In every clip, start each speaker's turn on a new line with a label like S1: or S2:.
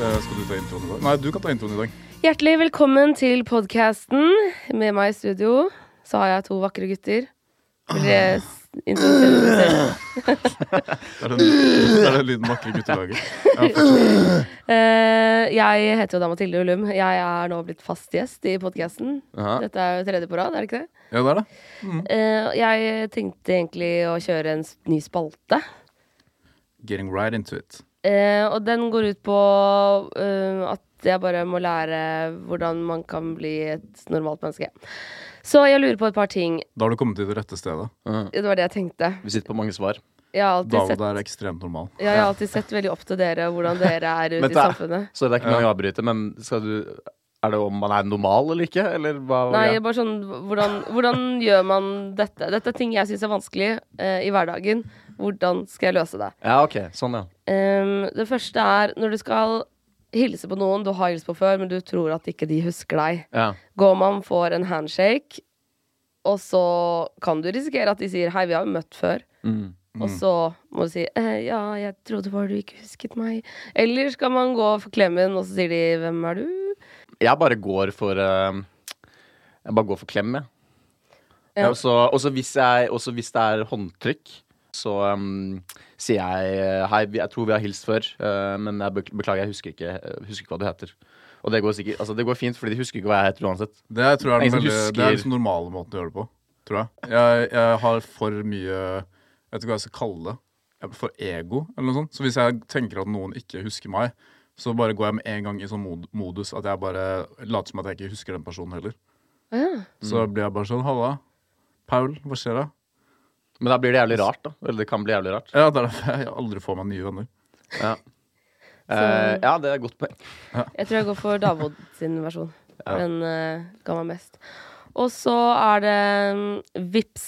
S1: Eh, Skal du ta introen i dag? Nei, du kan ta introen i dag.
S2: Hjertelig velkommen til podkasten. Med meg i studio så har jeg to vakre gutter. Vil dere s- introdusere dere
S1: Det
S2: selv?
S1: er den, det er den lyden vakre gutter lager. Ja, fortsett.
S2: Eh, jeg heter jo da Mathilde Ullum. Jeg er nå blitt fast gjest i podkasten.
S1: Ja.
S2: Dette er jo tredje på rad, er det ikke det?
S1: ja, det er det.
S2: Eh, jeg tenkte egentlig å kjøre en s- ny spalte.
S1: Getting right into it.
S2: Eh, og den går ut på eh, at jeg bare må lære hvordan man kan bli et normalt menneske. Så jeg lurer på et par ting.
S1: Da har du kommet til det rette stedet.
S2: Det var det jeg tenkte.
S3: Vi sitter på mange svar.
S2: Jeg har alltid sett
S1: David er ekstremt normal.
S2: Ja, jeg har alltid sett veldig opp til dere og hvordan dere er ute i
S3: Vent da.
S2: samfunnet.
S3: Så det er ikke noe å avbryte, men skal du Er det om man er normal eller ikke? Eller hva var
S2: Nei,
S3: greia?
S2: bare sånn Hvordan, hvordan gjør man dette? Dette er ting jeg syns er vanskelig eh, i hverdagen. Hvordan skal jeg løse det?
S3: Ja, ok. Sånn, ja.
S2: Ehm, det første er når du skal hilse på noen du har hilst på før, men du tror at ikke de husker deg.
S3: ja.
S2: Går man for en handshake, og så kan du risikere at de sier 'hei, vi har jo møtt før'.
S3: Mm.
S2: Og så må du si eh, 'ja, jeg trodde bare du ikke husket meg'. Eller skal man gå for klemmen, og så sier de 'hvem er du'?
S3: Jeg bare går for eh, Jeg bare går for klem, jeg.
S2: Ja.
S3: Og så også hvis, jeg- også hvis det er håndtrykk, så eh, sier jeg eh, Hei, vi- jeg tror vi har hilst før, eh, men jeg bek- beklager, jeg husker ikke, eh, husker ikke hva du heter. Og det går, sikkert, altså, det går fint, fordi de husker ikke hva jeg heter uansett.
S1: Det er, tror jeg er den
S3: Ingen som
S1: veldig, det er
S3: husker.
S1: liksom normale måten å gjøre det på. Tror jeg. Jeg, jeg har for mye Jeg vet ikke hva jeg skal kalle det. Jeg- For ego, eller noe sånt. Så hvis jeg tenker at noen ikke husker meg, så bare går jeg med en gang i sånn mod modus at jeg bare later som at jeg ikke husker den personen heller.
S2: Ja.
S1: Så
S3: Mm.
S1: blir jeg bare sånn Halla, Paul, hva skjer da?
S3: Men da blir det jævlig rart, da. Eller det kan bli jævlig rart.
S1: Ja, det er derfor jeg aldri får meg nye venner.
S3: Ja, Eh, ja det er et godt poeng.
S2: Jeg tror jeg går for Davod sin versjon. Den uh, ga meg mest. Og så er det mm, vips.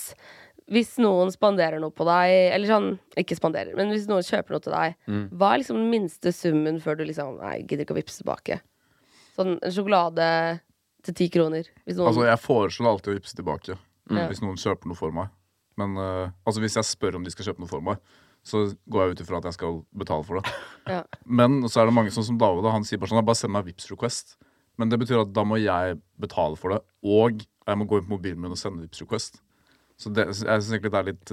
S2: Hvis noen spanderer noe på deg, eller sånn, ikke spanderer, men hvis noen kjøper noe til deg, hva er liksom den minste summen før du liksom Nei, jeg gidder ikke å vippse tilbake. Sånn en sjokolade til ti kroner. Hvis noen
S1: Altså, jeg foreslår alltid å vippse tilbake
S2: Ja.
S1: hvis noen kjøper noe for meg. Men eh, altså, hvis jeg spør om de skal kjøpe noe for meg, så går jeg ut ifra at jeg skal betale for det.
S2: Ja.
S1: Men så er det mange sånn som David, da, han sier bare sånn Bare send meg Vipps request. Men det betyr at da må jeg betale for det, og jeg må gå inn på mobilen min og sende Vipps request. Så det, jeg syns egentlig det er litt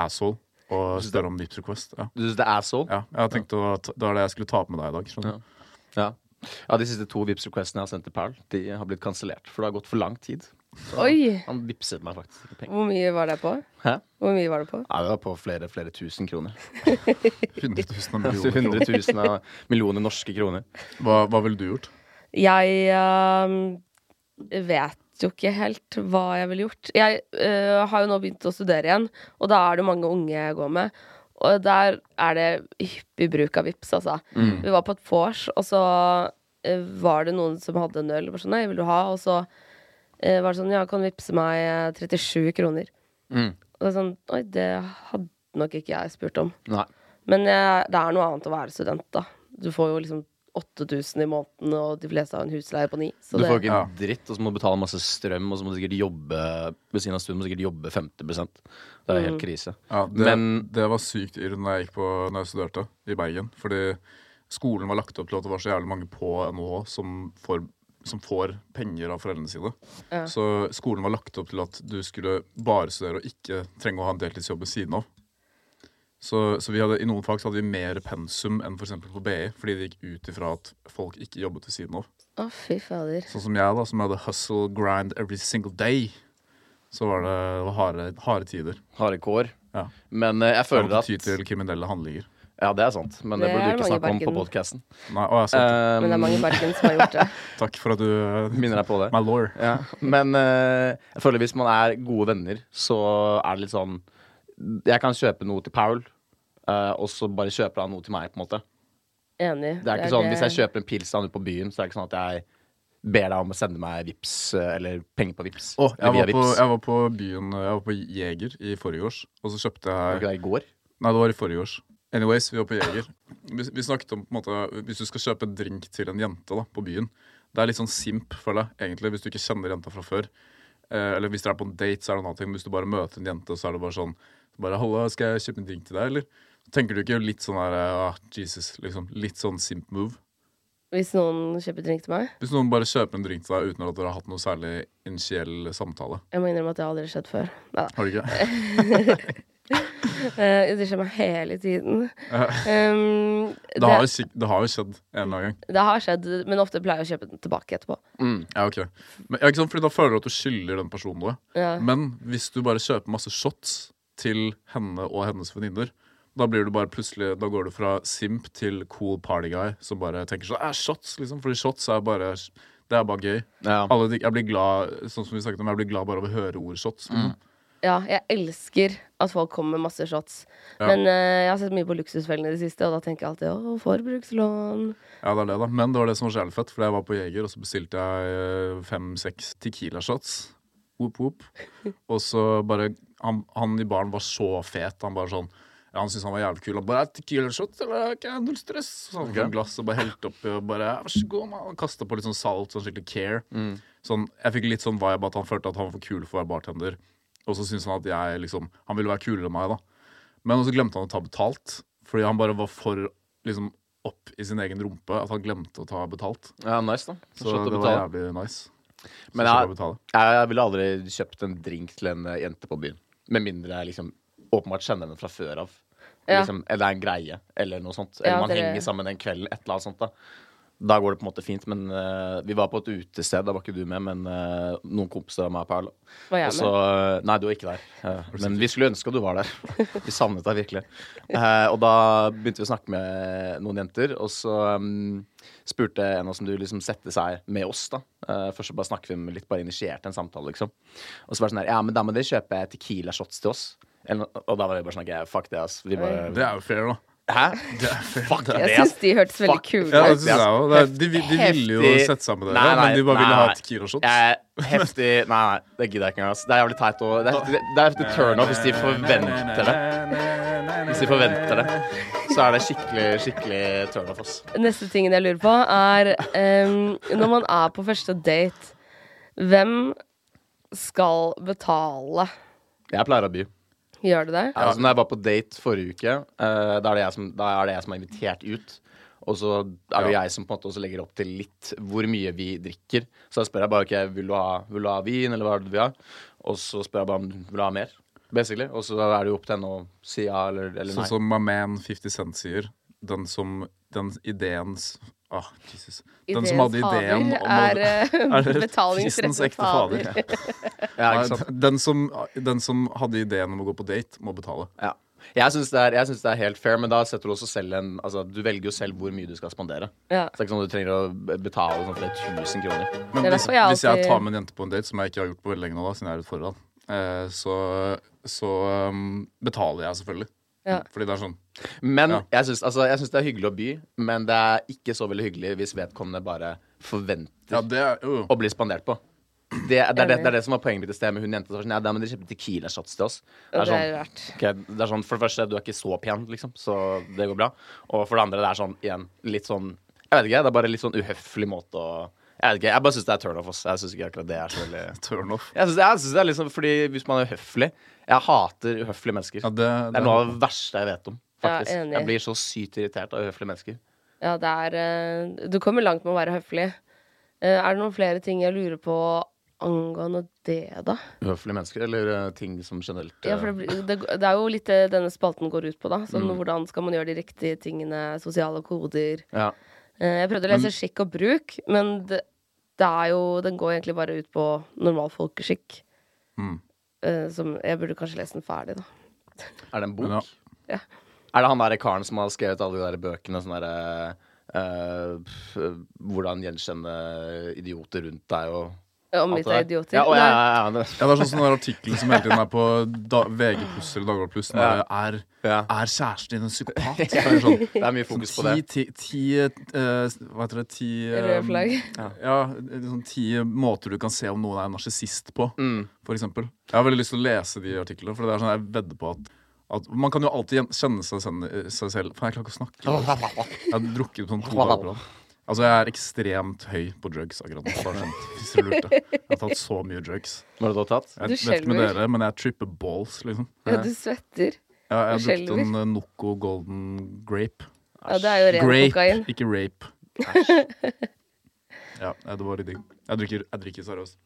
S1: asshole å spørre om Vipps request. Ja.
S3: Du syns det er så?
S1: Ja, jeg har tenkt å, ta- Det var det jeg skulle ta opp med deg i dag. skjønner du?
S3: Ja. ja, De siste to vips requestene jeg har sendt til Paul, de har blitt kansellert. For det har gått for lang tid.
S2: Oi!
S3: Han vipset meg faktisk ikke penger.
S2: Hvor mye var det på?
S3: Hæ?
S2: Hvor mye var det på?
S3: Nei, det var på flere flere tusen kroner.
S1: 100 000 av
S3: Altså
S1: millioner. kroner.
S3: 100 000 av millioner norske kroner.
S1: Hva, hva ville du gjort?
S2: Jeg ehm, vet jo ikke helt hva jeg ville gjort. Jeg eh, har jo nå begynt å studere igjen, og da er det mange unge jeg går med. Og der er det hyppig bruk av vips, altså. Vi var på et vors, og så eh, var det noen som hadde en øl. Og var sånn, nei, vil du ha? Og så eh, var det sånn, ja, kan vippse meg eh, 37 kroner.
S3: Mm.
S2: Og det er sånn, oi, det hadde nok ikke jeg spurt om.
S3: Nei.
S2: Men eh, det er noe annet å være student, da. Du får jo liksom 8000 i måneden, og de fleste har en husleie på 9. Så
S3: Du
S2: det,
S3: får ikke
S1: Ja.
S3: en dritt, og så må du betale masse strøm, og så må du sikkert jobbe ved siden av studien, må du sikkert jobbe 50 Det er helt krise.
S1: Ja, det,
S3: Men-
S1: det var sykt irr når jeg gikk på når jeg studerte i Bergen. Fordi skolen var lagt opp til at det var så jævlig mange på NHH som får, som får penger av foreldrene sine.
S2: Ja.
S1: Så skolen var lagt opp til at du skulle bare studere og ikke trenge å ha en deltidsjobb ved siden av. Så, så vi hadde, i noen fag så hadde vi mer pensum enn f.eks. på BI, fordi det gikk ut ifra at folk ikke jobbet ved siden av.
S2: Å, fy fader.
S1: Sånn som jeg, da, som hadde hustle, grind every single day. Så var det, det var harde, harde tider.
S3: Harde kår.
S1: Ja.
S3: Men eh, jeg
S1: Jeg
S3: føler
S1: måtte
S3: at
S1: ty til kriminelle handlinger.
S3: Ja, det er sant, men
S2: Det
S3: det,
S2: er
S3: burde du ikke
S2: mange i
S3: snakke om på
S2: Bergen.
S3: podkasten.
S1: Nei, å, jeg sa det.
S3: Um,
S2: Men det er mange i Bergen som har gjort det.
S1: Takk for at du eh,
S3: Minner deg på det.
S1: My lord.
S3: Ja, men eh, jeg føler hvis man er gode venner, så er det litt sånn Jeg kan kjøpe noe til Paul, eh, og så bare kjøper han noe til meg, på en måte.
S2: Enig.
S3: Det er ikke sånn, Hvis jeg kjøper en pils til han ute på byen, så er det ikke sånn at jeg ber deg om å sende meg vips, eh, eller penger på vips.
S1: Å, jeg,
S3: eller
S1: var på, jeg var på byen eh, Jeg var på Jeger i forrige års, og så kjøpte
S3: Var
S1: jeg
S3: ikke det i går?
S1: Nei, det var i forrige års. Anyways, vi var på Jeger. Vi, vi snakket om på en måte Hvis du skal kjøpe en drink til en jente da, på byen Det er litt sånn simp, føler jeg, egentlig, hvis du ikke kjenner jenta fra før. Eh, eller hvis dere er på en date, så er det en annen ting. Men hvis du bare møter en jente, så er det bare sånn Bare 'halla, skal jeg kjøpe en drink til deg', eller? Tenker du ikke litt sånn der ah, Jesus, liksom. Litt sånn simp move.
S2: Hvis noen kjøper drink til meg.
S1: Hvis noen bare kjøper en drink til deg uten at dere har hatt noe særlig initiell samtale.
S2: Jeg må innrømme at det har aldri skjedd før. Neida.
S1: Har du ikke?
S2: Eh, Det skjer meg hele tiden. Um,
S1: Det har jo, sikk- det har jo skjedd en eller annen gang.
S2: det har skjedd, men ofte pleier jeg å kjøpe den tilbake etterpå.
S1: Ja, ok. Men, ja, ikke sant? Fordi da føler du at du skylder den personen noe.
S2: Ja.
S1: Men hvis du bare kjøper masse shots til henne og hennes venninner, da blir du bare plutselig Da går du fra simp til cool party guy som bare tenker sånn Æ, shots, liksom. Fordi shots er bare Det er bare gøy.
S3: Ja.
S1: Alle, de- jeg blir glad Sånn som vi snakket om, jeg blir glad bare av å høre ordet shots. Liksom.
S2: Ja, jeg elsker at folk kommer med masse shots.
S1: Ja.
S2: Men eh, jeg har sett mye på Luksusfellen i det siste, og da tenker jeg alltid 'å, forbrukslån'.
S1: Ja, det er det, da. Men det var det som var så jævlig fett, fordi jeg var på Jeger, og så bestilte jeg fem-seks Tequila shots. Whoop, whoop. Og så bare han, han i baren var så fet. Han bare sånn ja, Han syntes han var jævlig kul. Han bare «Er det 'Tequila shots, eller er det ikke null stress?' Så han fikk et glass og bare helte oppi og bare «Ja, 'Vær så god, mann'. Kasta på litt sånn salt, sånn skikkelig care. Sånn, jeg fikk litt sånn vibe at han følte at han var for kul for å være bartender. Og så syntes han at jeg liksom Han ville være kulere enn meg, da. Men så glemte han å ta betalt. Fordi han bare var for liksom, opp i sin egen rumpe at han glemte å ta betalt.
S3: ja, nice, da.
S1: Så
S3: Slått å
S1: det var
S3: betale.
S1: jævlig nice. Så
S3: Men
S1: slapp
S3: jeg-
S1: å betale.
S3: Jeg, jeg ville aldri kjøpt en drink til en eh, jente på byen. Med mindre jeg liksom åpenbart kjenner henne fra før av.
S2: Ja.
S3: Liksom, eller er en greie, eller noe sånt. Eller
S2: Ja,
S3: man
S2: dere-
S3: henger sammen den kvelden, et eller annet sånt. Da Da går det på en måte fint. Men eh, vi var på et utested, da var ikke du med, men eh, noen kompiser av meg og Paul.
S2: Var jeg
S3: Og så eh, Nei, du var ikke der. Eh, men vi skulle ønske at du var der. Vi savnet deg virkelig. Eh, og da begynte vi å snakke med noen jenter, og så mm, spurte en av oss om du liksom sette seg med oss, da. Eh, først så bare snakket vi med litt bare initierte en samtale, liksom. Og så var det sånn her Ja, men da må dere kjøpe Tequila shots til oss. Eller, noe- og da var det bare sånn «Ok, Fuck det, ass. Vi bare
S1: Det er jo fair, da.
S3: Hæ?
S1: Det er fair.
S3: Fuck det,
S2: Jeg
S3: ass.
S2: syns de hørtes veldig
S3: Fuck.
S2: kule
S1: Ja, det
S2: ut.
S1: synes jeg også. Det er- De, vi- de ville jo
S3: Heftig-
S1: sette seg med dere,
S3: Nei, nei,
S1: men de bare ville
S3: nei,
S1: ha
S3: nei.
S1: Tequila shots.
S3: Jeg er heftig Nei, nei, det gidder jeg ikke engang. ass. Det er jævlig teit og Det er heftig, det er heftig turn off hvis de forventer det. Hvis de forventer det, så er det skikkelig, skikkelig turn off, ass.
S2: Neste tingen jeg lurer på, er em, når man er på første date, hvem skal betale?
S3: Jeg pleier å by.
S2: Gjør du det?
S3: Altså, når jeg var på date forrige uke, eh, da, er det jeg som, da er det jeg som er invitert ut. Og så er det
S1: Ja.
S3: jeg som på en måte også legger opp til litt hvor mye vi drikker. Så da spør jeg bare ok, vil du ha, vil du ha vin, eller hva er det du vil ha? Og så spør jeg bare om vil du ha mer, basically. Og så er det jo opp til henne å si ja eller, eller
S1: Sånn
S3: nei.
S1: som my man 50 Cent sier. Den som Den ideens Ah, Jesus. Den som hadde ideen
S2: Ideens
S1: om å
S2: fader er,
S1: Er
S2: eh,
S1: det kristens
S2: betalingsrettens
S1: ekte
S2: fader.
S1: fader?
S3: Ja,
S1: Nei,
S3: ikke sant?
S1: Den som, den som hadde ideen om å gå på date, må betale.
S3: Ja. Jeg syns det, er- jeg synes det er helt fair, men da setter du også selv en Altså, du velger jo selv hvor mye du skal spandere.
S2: Ja.
S3: Så det er ikke sånn at du trenger å betale sånn flere tusen kroner.
S1: Men
S2: Det er
S1: hvis,
S2: derfor jeg
S1: hvis jeg
S2: alltid-
S1: tar med en jente på en date, som jeg ikke har gjort på veldig lenge nå, da, siden jeg er litt foran, eh, så, så um, betaler jeg selvfølgelig.
S2: Ja.
S1: Fordi det er sånn
S3: Men
S1: Ja.
S3: jeg syns altså, jeg synes det er hyggelig å by, men det er ikke så veldig hyggelig hvis vedkommende bare forventer
S1: Ja, det er jo
S3: å bli spandert på. Det, er- det, er det, det er det som var poenget mitt i sted med hun jenta. som var Sånn, ja, nei, men de kjøpte Tequila-shots til oss.
S2: Og
S3: Det er
S2: det er
S3: sånn,
S2: rart.
S3: Ok, det er sånn, For det første, du er ikke så pen, liksom, så det går bra. Og for det andre, det er sånn igjen litt sånn Jeg vet ikke, det er bare litt sånn uhøflig måte å Jeg vet ikke, jeg bare syns det er turn off. ass. Jeg syns ikke akkurat det er så veldig Jeg
S1: turnoff.
S3: synes, jeg synes det er liksom fordi hvis man er uhøflig Jeg hater uhøflige mennesker.
S1: Ja, det,
S3: det er noe av det verste jeg vet om.
S2: Ja,
S3: Faktisk.
S2: enig.
S3: jeg blir så sykt irritert av uhøflige mennesker.
S2: Ja, det er eh, Du kommer langt med å være høflig. Eh, Er det noen flere ting jeg lurer på angående det, da?
S3: Uhøflige mennesker eller eh, ting som generelt eh,
S2: Ja, for det, blir- det, det er jo litt det denne spalten går ut på, da. Sånn
S1: Mm.
S2: hvordan skal man gjøre de riktige tingene, sosiale koder.
S3: eh, ja.
S2: Eh, Jeg prøvde å lese skikk og bruk, men det, det er jo Den går egentlig bare ut på normal folkeskikk.
S1: Mm.
S2: Eh, Som Jeg burde kanskje lese den ferdig, da.
S3: Er det en bok?
S1: Ja.
S2: Ja.
S3: Er det han derre karen som har skrevet alle de der bøkene sånn derre eh, pff, Hvordan gjenkjenne idioter rundt deg og
S2: Omgitt
S3: alt det
S2: av
S3: der?
S2: idioter.
S3: Ja, å, ja,
S2: Nei.
S3: ja, ja, det.
S1: Ja, det er sånn som den artikkelen som hele tiden er på da, VG pluss eller Dagbladet pluss. den
S3: Ja.
S1: der, Er,
S3: Ja.
S1: er kjæresten din en psykopat? Så er det sånn,
S3: det er mye fokus på det.
S1: ti, ti, ti eh, Hva heter det? Ti eh,
S2: Røde flagg.
S1: Ja, sånn ti måter du kan se om noen er narsissist på,
S3: Mm.
S1: for eksempel. Jeg har veldig lyst til å lese de artiklene, for det er sånn jeg vedder på at, at Man kan jo alltid gjen- kjenne seg, sen- seg selv Faen, jeg klarer ikke å snakke. Jeg har drukket sånn to dager på rad. Altså, jeg er ekstremt høy på drugs akkurat nå. bare sånn, Hvis du lurte. Jeg har tatt så mye drugs.
S3: Hva har du da tatt?
S1: Jeg
S2: Du
S1: vet ikke med
S2: skjelver.
S1: dere, men jeg tripper balls, liksom.
S2: Ja, du svetter.
S1: Jeg, jeg har
S2: Du
S1: brukt en
S2: skjelver.
S1: eh, Noco Golden Grape.
S2: Ja, det er jo ren
S1: Grape,
S2: kokain.
S1: ikke rape. ja, nei, det var litt digg. Jeg drikker, jeg drikker seriøst.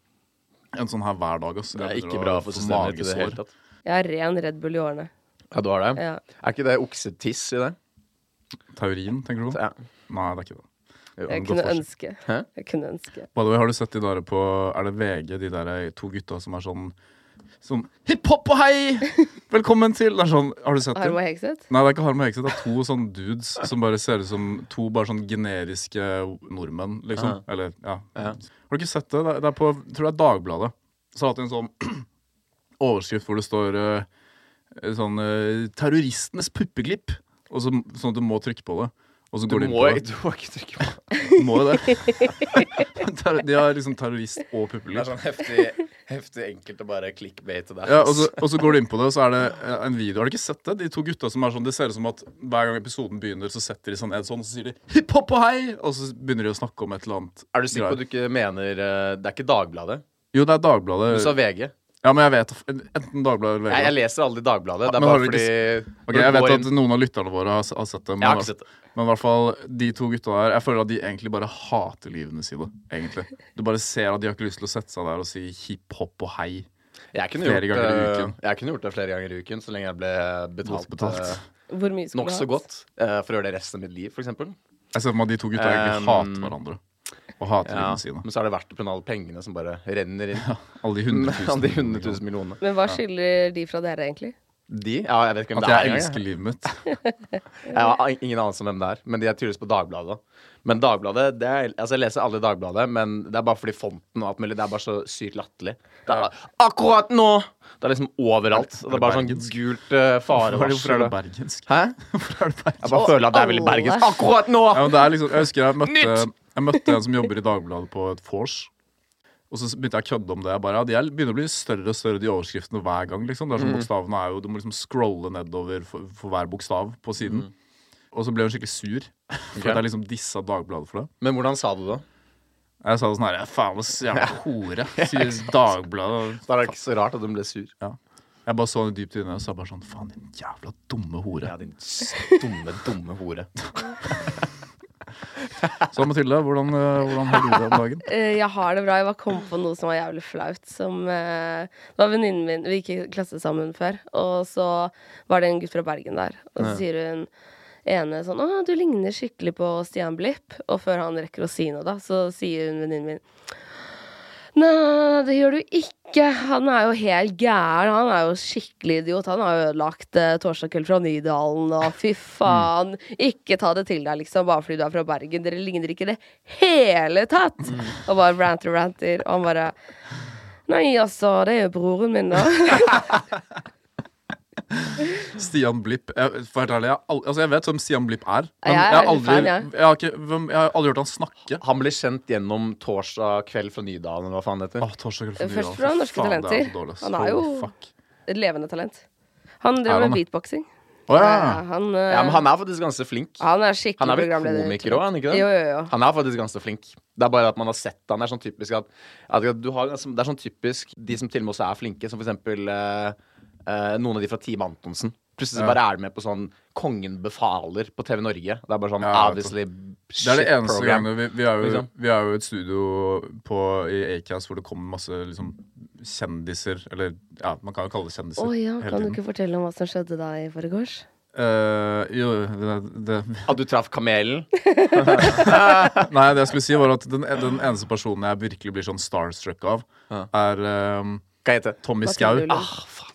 S1: En sånn her hver dag, ass.
S3: Det er
S1: Jeg begynner
S3: ikke
S1: å
S3: bra for
S1: få
S3: systemet ditt i det hele
S1: magesår.
S3: tatt.
S2: Jeg har ren Red Bull i årene.
S3: Ja, du har det?
S2: Ja.
S3: Er ikke det oksetiss i det?
S1: Taurin, tenker du på?
S3: Ja.
S1: Nei, det er ikke det.
S3: Jo.
S2: Jeg
S1: godt
S2: kunne
S1: forslag.
S2: ønske.
S3: Hæ?
S2: Jeg kunne ønske.
S1: By the way, har du sett de der på Er det VG, de der eh, to gutta som er sånn Sånn hiphop og hei! Velkommen til Det er sånn, Har du sett dem?
S2: Harmo Hegseth?
S1: Nei, det er ikke Harm og Hegseth. Det er to sånn dudes som bare ser ut som to bare sånn generiske nordmenn, liksom.
S3: Ja.
S1: Eller, ja.
S3: Ja.
S1: Har du ikke sett det? Det er- Det er på, jeg tror det er Dagbladet. Så har de hatt en sånn overskrift hvor det står eh, sånn eh, 'Terroristenes puppeklipp'. Og så, sånn at du må trykke på det. Og så
S3: Du
S1: går de inn
S3: må,
S1: på
S3: ikke-
S1: det.
S3: du må ikke trykke på det.
S1: Du må jo det. Terror- de har liksom terrorist og
S3: Det er
S1: puppeklipp.
S3: sånn heftig, heftig enkelt å bare clickbate der.
S1: Ja, og så, og så går du inn på det, og så er det eh, en video. Har du ikke sett det? De to gutta som er sånn Det ser ut som at hver gang episoden begynner, så setter de sånn en sånn, og så sier de 'hiphop og hei', og så begynner de å snakke om et eller annet.
S3: Er du sikker
S1: greier.
S3: på at du ikke mener eh, Det er ikke Dagbladet?
S1: Jo, det er
S3: Du sa
S1: Dagbladet.
S3: VG.
S1: Ja, men jeg vet Enten Dagbladet eller
S3: Jeg, jeg
S1: VG.
S3: leser aldri Dagbladet. Det
S1: men
S3: er
S1: har du
S3: bare fordi
S1: Ok, jeg vet at noen av lytterne våre har, s- har sett det,
S3: Jeg har
S1: men,
S3: ikke sett det.
S1: men i hvert fall de to gutta der Jeg føler at de egentlig bare hater livene sine. Egentlig. Du bare ser at de har ikke lyst til å sette seg der og si hiphop og hei.
S3: Jeg kunne,
S1: flere
S3: gjort,
S1: ganger i
S3: eh,
S1: uken.
S3: jeg kunne gjort det flere ganger i uken, så lenge jeg ble betalt,
S1: Godt betalt.
S3: eh,
S2: Hvor mye skulle du
S3: nokså
S2: hatt?
S3: godt eh, for å gjøre det resten av mitt liv, f.eks.
S1: Jeg ser for meg at Altså, de to gutta egentlig
S3: Um,
S1: hater hverandre. Og hater
S3: Ja.
S1: livene sine.
S3: Men så er det verdt det på grunn av alle pengene som bare renner inn.
S1: Alle de
S3: Alle de 100
S1: hundretusen.
S3: 000 millionene.
S2: Men hva skylder de fra dere, egentlig?
S3: De? Ja, jeg vet ikke hvem
S1: At
S3: det er.
S1: jeg
S3: engang,
S1: elsker livet mitt.
S3: Jeg har in- ingen anelse om hvem det er, men de er tydeligvis på Dagbladet. Men Dagbladet, det er, altså Jeg leser aldri Dagbladet, men det er bare fordi fonten og alt mulig. Det er bare så sykt latterlig. Det er akkurat nå! Det er liksom overalt. Og det er bare sånn
S1: bergensk?
S3: gult uh,
S1: Hvorfor er
S3: farevarsel.
S1: det bergensk?
S3: Hæ?
S1: Hvorfor er det bergensk?
S3: Jeg bare
S2: Og
S3: føler at det er veldig
S2: alle.
S3: bergensk. Akkurat nå!
S1: Ja, men det er liksom, jeg husker jeg møtte,
S3: Nytt!
S1: jeg møtte en som jobber i Dagbladet på et vors. Og så begynte jeg å kødde om det. Jeg bare, ja, De er- begynner å bli større og større, de overskriftene hver gang. liksom. Det er
S3: Mm.
S1: sånn, bokstavene er jo, Du må liksom scrolle nedover for, for hver bokstav på siden.
S3: Mm.
S1: Og så ble hun skikkelig sur. For at jeg liksom dissa Dagbladet for det.
S3: Men hvordan sa du det?
S1: Jeg sa det sånn her ja, Faen, så jævla hore. Sier Dagbladet.
S3: Da er det ikke så rart at hun ble sur.
S1: Ja. Jeg bare så henne dypt i øynene og sa bare sånn Faen, din jævla dumme hore.
S3: Ja, din s- dumme, dumme hore.
S1: Så Mathilde, hvordan, eh, hvordan har du det om dagen?
S2: Eh, jeg har det bra. Jeg bare kom på noe som var jævlig flaut. Som, eh, det var venninnen min. Vi gikk i klasse sammen før. Og så var det en gutt fra Bergen der. Og så sier hun ene sånn Å, du ligner skikkelig på Stian Blipp. Og før han rekker å si noe, da, så sier hun venninnen min Nei, det gjør du ikke. Han er jo helt gæren. Han er jo skikkelig idiot. Han har ødelagt eh, Torsdag kveld fra Nydalen, og fy
S3: Mm.
S2: faen. Ikke ta det til deg, liksom, bare fordi du er fra Bergen. Dere ligner ikke i det hele tatt.
S3: Mm.
S2: Og bare ranter og ranter. Og han bare Nei, altså, det er jo broren min, da.
S1: Stian Blipp jeg, For helt ærlig, jeg, har al- altså, jeg vet hvem Stian Blipp er. Men
S2: Jeg er
S1: jeg, har
S2: veldig
S1: aldri,
S2: fan, jeg.
S1: jeg, har ikke, hvem, jeg har aldri hørt han snakke.
S3: Han ble kjent gjennom torsdag kveld fra Nydalen, eller hva faen det heter.
S1: Åh, torsdag kveld for
S2: Først
S1: Nydalen.
S2: fra Norske
S1: Faen, det er
S2: Talenter.
S1: så dårlig, ass.
S2: Han er
S1: Holy
S2: jo-
S1: fuck.
S2: Et levende talent. Han
S1: Er
S2: driver
S1: han
S2: med
S1: det?
S2: beatboxing.
S1: Å ja.
S2: Eh, han, eh,
S3: Ah. Ja, men han er faktisk ganske flink.
S2: han er skikkelig
S3: Han er vel
S2: programleder.
S3: komiker òg, er han ikke det?
S2: Jo, jo, jo.
S3: Han er faktisk ganske flink. Det er bare at man har sett han. Det er sånn typisk at, at du har, ganske- Det er sånn typisk de som til og med også er flinke, som for eksempel eh, eh, noen av de fra Team Antonsen. Plutselig så
S1: Ja.
S3: bare er de med på sånn 'Kongen befaler' på TV Norge. Det er bare sånn
S1: Ja, jeg vet
S3: obviously shit
S1: Det er det eneste
S3: program.
S1: gangen vi, vi, er jo,
S3: liksom.
S1: vi er jo et studio på, i Acast hvor det kommer masse liksom, kjendiser Eller ja, man kan jo kalle det
S2: Å
S1: kjendiser.
S2: ja,
S1: hele
S2: kan du
S1: tiden.
S2: ikke fortelle om hva som skjedde da i forgårs?
S1: Eh, jo, det, det,
S3: At du traff kamelen.
S1: Nei, det jeg skulle si var at den, den eneste personen jeg virkelig blir sånn starstruck av,
S3: Ja.
S1: er ehm,
S3: Hva heter det?
S1: Tommy
S2: Mathilde
S1: Skau.
S2: Ullum.
S3: Ah, faen.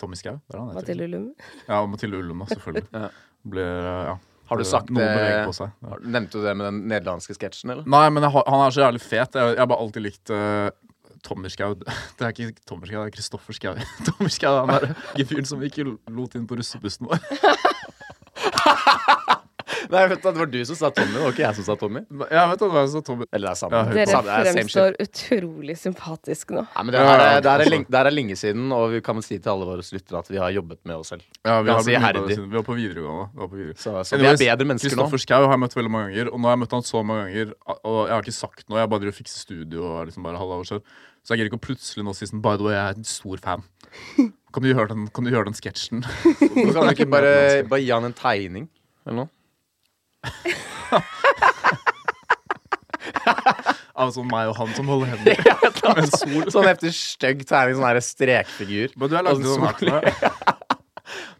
S1: Tommy Skau, det er han heter.
S2: Mathilde Ullum.
S1: Ja, og Mathilde Ullum, da, selvfølgelig.
S3: Ja.
S1: Blir, eh, ja.
S3: Har du
S1: Det-
S3: sagt eh,
S1: Noe beveger på
S3: det
S1: seg. Ja.
S3: har- Nevnte du det med den nederlandske sketsjen, eller?
S1: Nei, men jeg, har- han er så jævlig fet. Jeg jeg har bare alltid likt uh, Tommy Skau. Det er ikke Tommy Skau, det er Kristoffer Skau. Tommy Skau han er ikke fyren som vi ikke lot inn på russebussen vår.
S3: Nei, vet du, det var du som sa Tommy, det var ikke jeg som sa Tommy.
S1: Ja, vet du hva som Tommy
S3: Eller det er samme.
S1: Ja, høyt på.
S3: samme
S2: Dere
S3: det er same shit.
S2: fremstår utrolig sympatisk nå.
S3: Nei, men det, her
S1: Ja,
S3: er,
S1: ja,
S3: det, her er
S1: altså.
S3: lenge, det her er lenge siden, og vi kan si til alle våre lyttere at vi har jobbet med oss selv.
S1: Ja, vi, har
S3: Ganske
S1: blitt mye
S3: iherdig.
S1: bedre siden. vi var på videregående. Vi var på videregående.
S3: Så, så vi er bedre mennesker nå.
S1: Kristoffer Schau har jeg møtt veldig mange ganger, og nå har jeg møtt han så mange ganger. Og jeg har ikke sagt noe, jeg bare driver og fikser studio og er liksom bare halve år selv. Så jeg gidder ikke å plutselig nå si sånn By the way, jeg er en stor fan. Kan du gjøre den, kan du gjøre den sketsjen?
S3: Hvorfor kan du ikke bare, bare gi han en tegning eller noe?
S1: Av sånn meg og han som holder hender.
S3: En sol. Sånn heftig stygg tegning, sånn her strekfigur.
S1: Men du har lagd
S3: Og en
S1: sånn
S3: sol.
S1: her.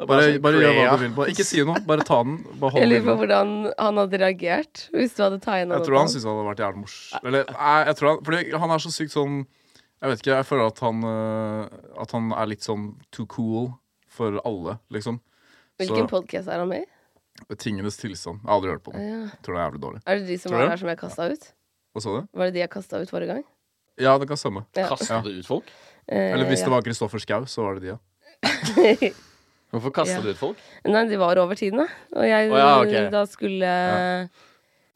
S1: Bare,
S3: Bare sånn
S1: bare gjør hva
S3: Freya.
S1: du vil på. Ikke si noe, bare ta den. Bare
S2: Jeg
S1: hold
S2: lurer på
S1: den.
S2: hvordan han hadde reagert hvis du hadde tatt igjen
S1: Jeg tror han syntes det hadde vært jævlig morsomt. Eller, nei, jeg tror han, fordi han er så sykt sånn Jeg vet ikke, jeg føler at han øh, At han er litt sånn too cool for alle, liksom.
S2: Hvilken
S1: så-
S2: podkast er han med i?
S1: Tingenes tilstand. Jeg har aldri hørt på den.
S2: Ja.
S1: Tror den er jævlig dårlig.
S2: Er det de som
S1: Tror
S2: var
S1: du?
S2: her som jeg kasta ut?
S1: Hva sa du?
S2: Var det de jeg kasta ut forrige gang?
S1: Ja, det kan stemme.
S2: Ja.
S3: Kasta du ut folk?
S2: Eh,
S1: Eller hvis
S2: ja.
S1: det var Kristoffer Schau, så var det de, ja.
S3: Hvorfor kasta
S2: Ja.
S3: du ut folk?
S2: Nei, de var over tiden, da. Og jeg,
S3: Å, ja, ok.
S2: da skulle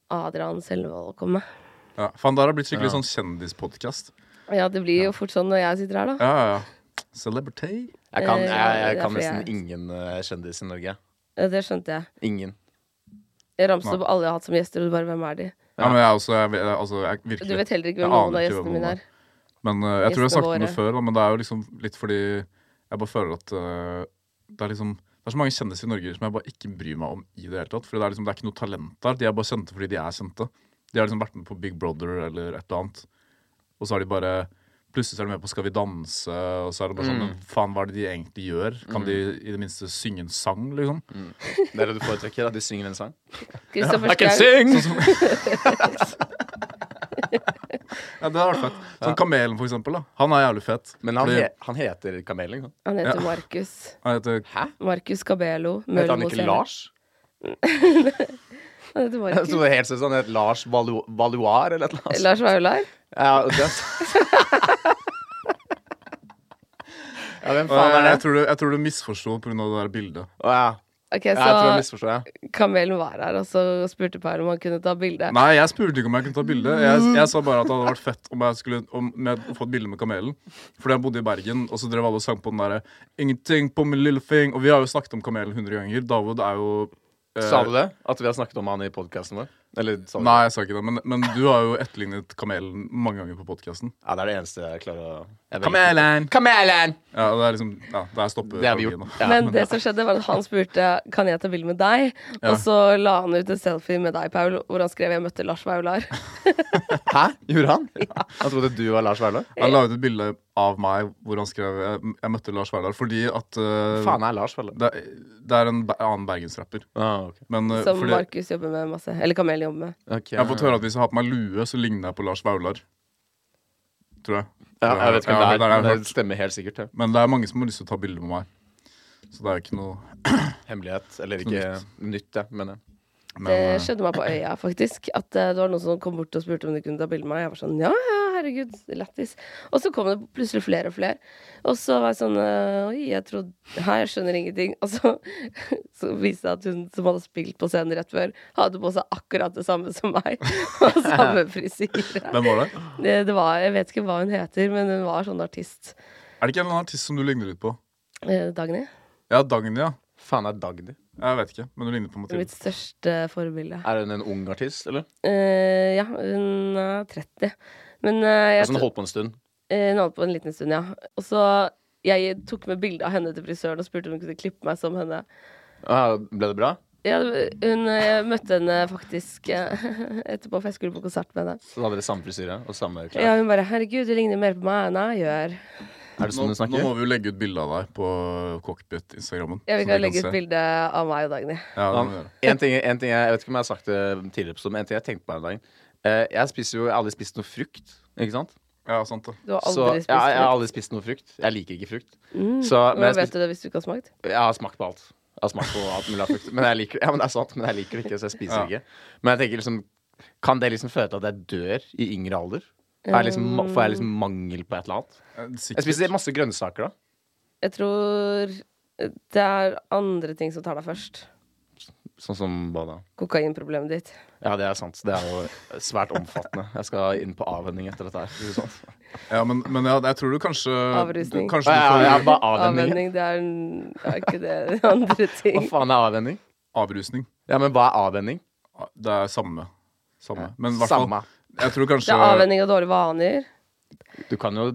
S2: Adrian Selvold komme.
S1: ja. Faen, der har blitt skikkelig
S3: Ja.
S1: sånn kjendispodkast.
S2: Ja, det blir jo fort sånn når jeg sitter her, da.
S1: Ja, ja, ja. Celebrity.
S3: Jeg kan,
S2: Eh,
S3: jeg, jeg
S2: det er
S3: kan
S2: fordi jeg-
S3: nesten ingen eh, kjendis i Norge.
S2: Ja, Det skjønte jeg.
S3: Ingen.
S2: Jeg ramset opp alle jeg har hatt som gjester, og du bare hvem er de?
S1: Ja, men jeg er også jeg, vet- altså, jeg, virkelig.
S2: Du vet heller ikke
S1: Jeg
S2: hvem
S1: aner
S2: noen av
S1: ikke hvem
S2: gjestene mine
S1: noen
S2: er.
S1: Men øh, jeg tror jeg har sagt
S2: Gjestene
S1: det før, da, men det er jo liksom litt fordi jeg bare føler at øh, det er liksom det er så mange kjendiser i Norge som jeg bare ikke bryr meg om i det hele tatt. For det er liksom, det er ikke noe talent der. De er bare kjente fordi de er kjente. De har liksom vært med på Big Brother eller et eller annet. Og så har de bare Plutselig så er de med på Skal vi danse, og så er det bare sånn Men faen, hva er det de egentlig gjør? Kan de i det minste synge en sang, liksom?
S3: Det er det du foretrekker? At de synger en sang?
S2: Kristoffer Schau.
S3: sing!
S1: Ja, det hadde vært fett. Sånn Kamelen, for eksempel. da Han er jævlig fet.
S3: Men han,
S1: Fordi-
S3: he, han heter Kamelen. ikke sant?
S2: Han heter
S1: Ja.
S2: Markus.
S1: Han heter
S3: Hæ?
S2: Markus Cabello.
S3: Heter
S2: Møller
S3: han ikke
S2: Moselle.
S3: Lars?
S2: Han heter
S3: Jeg
S2: Markus.
S3: trodde helt seriøst han het Lars Valu- Valuar eller et eller annet.
S2: Lars Vaular.
S3: Ja, det Ja, hvem faen
S1: jeg,
S3: er det?
S1: tror du, jeg tror du misforsto pga. det der bildet.
S3: Å ja.
S2: Ok,
S3: Ja, Jeg tror liksom- jeg
S2: så
S3: misforstår, jeg.
S2: Kamelen var her og så spurte Per om han kunne ta bilde.
S1: Nei, jeg spurte ikke om jeg kunne ta bilde. Jeg, jeg sa bare at det hadde vært fett om jeg skulle om, med, å få et bilde med kamelen. Fordi jeg bodde i Bergen, og så drev alle og sang på den derre 'Ingenting på min lille fing'. Og vi har jo snakket om kamelen 100 ganger. David er jo eh,
S3: Sa du det? At vi har snakket om han i podkasten vår? Eller sa du
S1: Nei,
S3: det?
S1: jeg sa ikke det. Men, men du har jo etterlignet kamelen mange ganger på podkasten.
S3: Ja, det er det eneste jeg klarer å jeg vet ikke.
S1: Kamelen!
S3: Kamelen!
S1: Ja, det er liksom Ja, der stopper
S3: Det har vi
S1: kronologien
S3: gjort.
S1: nå.
S3: Ja.
S2: Men det som skjedde var at han spurte Kan jeg ta bilde med deg. Og så la han ut en selfie med deg, Paul, hvor han skrev 'Jeg møtte Lars Vaular'.
S3: Hæ? Gjorde han? Han trodde du var Lars Vaular?
S1: Han la ut et bilde av meg hvor han skrev Jeg, jeg møtte Lars Verdal fordi at eh,
S3: Faen er Lars Vaular.
S1: det, det er en be- annen bergensrapper.
S3: Ah, ok.
S1: Men, eh,
S2: Som
S1: fordi-
S2: Markus jobber med masse. Eller Kamelen jobber med.
S3: Ok.
S1: Jeg har fått høre at hvis jeg har på meg lue, så ligner jeg på Lars Vaular. Tror jeg.
S3: ja, Jeg vet ikke
S1: Ja,
S3: hvem
S1: det har jeg
S3: det er.
S1: hørt.
S3: Det stemmer helt sikkert. Ja.
S1: Men det er mange som har lyst til å ta bilde med meg. Så det er jo ikke noe
S3: Hemmelighet. Eller ikke nytt, ja, eh, mener jeg.
S1: men,
S2: Det
S1: eh,
S2: skjedde meg på øya, faktisk. At eh, det var noen som kom bort og spurte om de kunne ta bilde med meg. Jeg var sånn ja, ja, herregud, lættis. Og så kom det plutselig flere og flere. Og så var jeg sånn eh, oi, jeg trodde Hæ, jeg skjønner ingenting. Og så, så viste det at hun som hadde spilt på scenen rett før, hadde på seg akkurat det samme som meg. Og samme frisyre.
S1: Hvem var det?
S2: Det, det var Jeg vet ikke hva hun heter, men hun var sånn artist.
S1: Er det ikke en eller annen artist som du ligner litt på?
S2: Eh, Dagny.
S1: Ja, Dagny, ja.
S3: Faen er Dagny?
S1: Jeg vet ikke, men du ligner på Mathilde.
S2: Mitt største forbilde.
S3: Er hun en ung artist, eller?
S2: Eh, ja, hun er 30. Men eh, jeg
S3: Altså, hun har holdt på en stund.
S2: Eh, Hun holdt på en liten stund, ja. Og så jeg tok med bilde av henne til frisøren og spurte om hun kunne klippe meg som henne.
S3: Ah, ble det bra?
S2: Ja, hun eh, møtte henne faktisk eh, etterpå, for jeg skulle på konsert med henne.
S3: Så da hadde dere samme frisyre og samme klær?
S2: Ja, hun bare 'Herregud, du ligner mer på meg enn jeg gjør'.
S3: Er
S1: Nå,
S3: det sånn hun
S1: nå
S3: snakker?
S1: må vi jo legge ut bilde av deg på Cockpit-instagrammen.
S2: Jeg vil
S1: så
S2: ikke
S1: de
S2: legge ut
S1: se.
S2: bilde av meg og Dagny.
S1: Ja, det må vi gjøre.
S3: En ting, en ting jeg, jeg vet ikke om jeg har sagt det tidligere, på episoden, men en ting jeg tenkte på her om dagen. Eh, Jeg spiser jo jeg har aldri spist noe frukt. Ikke sant?
S1: ja, sant det.
S2: Du har
S3: så,
S2: aldri spist
S3: ja, jeg har
S2: frukt.
S3: aldri spist noe frukt. Jeg liker ikke frukt. Så, men
S2: Hvordan
S3: jeg,
S2: vet
S3: spiser,
S2: du det hvis du ikke har smakt?
S3: jeg har smakt på alt. Jeg har smakt på alt mulig av frukt. Men jeg liker, ja, men det er sant, men jeg liker det ikke, så jeg spiser
S1: Ja.
S3: det ikke. Men jeg tenker liksom Kan det liksom føre til at jeg dør i yngre alder? Er jeg liksom, ma- får jeg liksom mangel på et eller annet?
S1: Eh, sikkert.
S3: Jeg spiser masse grønnsaker, da.
S2: eh, Jeg tror det er andre ting som tar deg først.
S3: Sånn som hva da?
S2: Kokainproblemet ditt.
S3: Ja, det er sant. Det er jo svært omfattende. Jeg skal inn på avvenning etter dette her. for å si det sånn.
S1: Ja, men, men ja, jeg tror du kanskje
S2: Avrusning.
S1: Du, kanskje
S3: Ja, ja,
S1: du
S3: ja,
S1: får
S3: bare avvenning.
S2: Avvenning, det er, en- er ikke det andre
S3: Hva
S2: ting.
S3: faen er avvenning?
S1: avrusning.
S3: Ja, men hva er avvenning?
S1: Det er samme. Samme. Men i hvert fall,
S3: Samme.
S1: jeg tror
S2: Det
S1: kanskje
S2: er avvenning av dårlige vaner.
S3: Du kan jo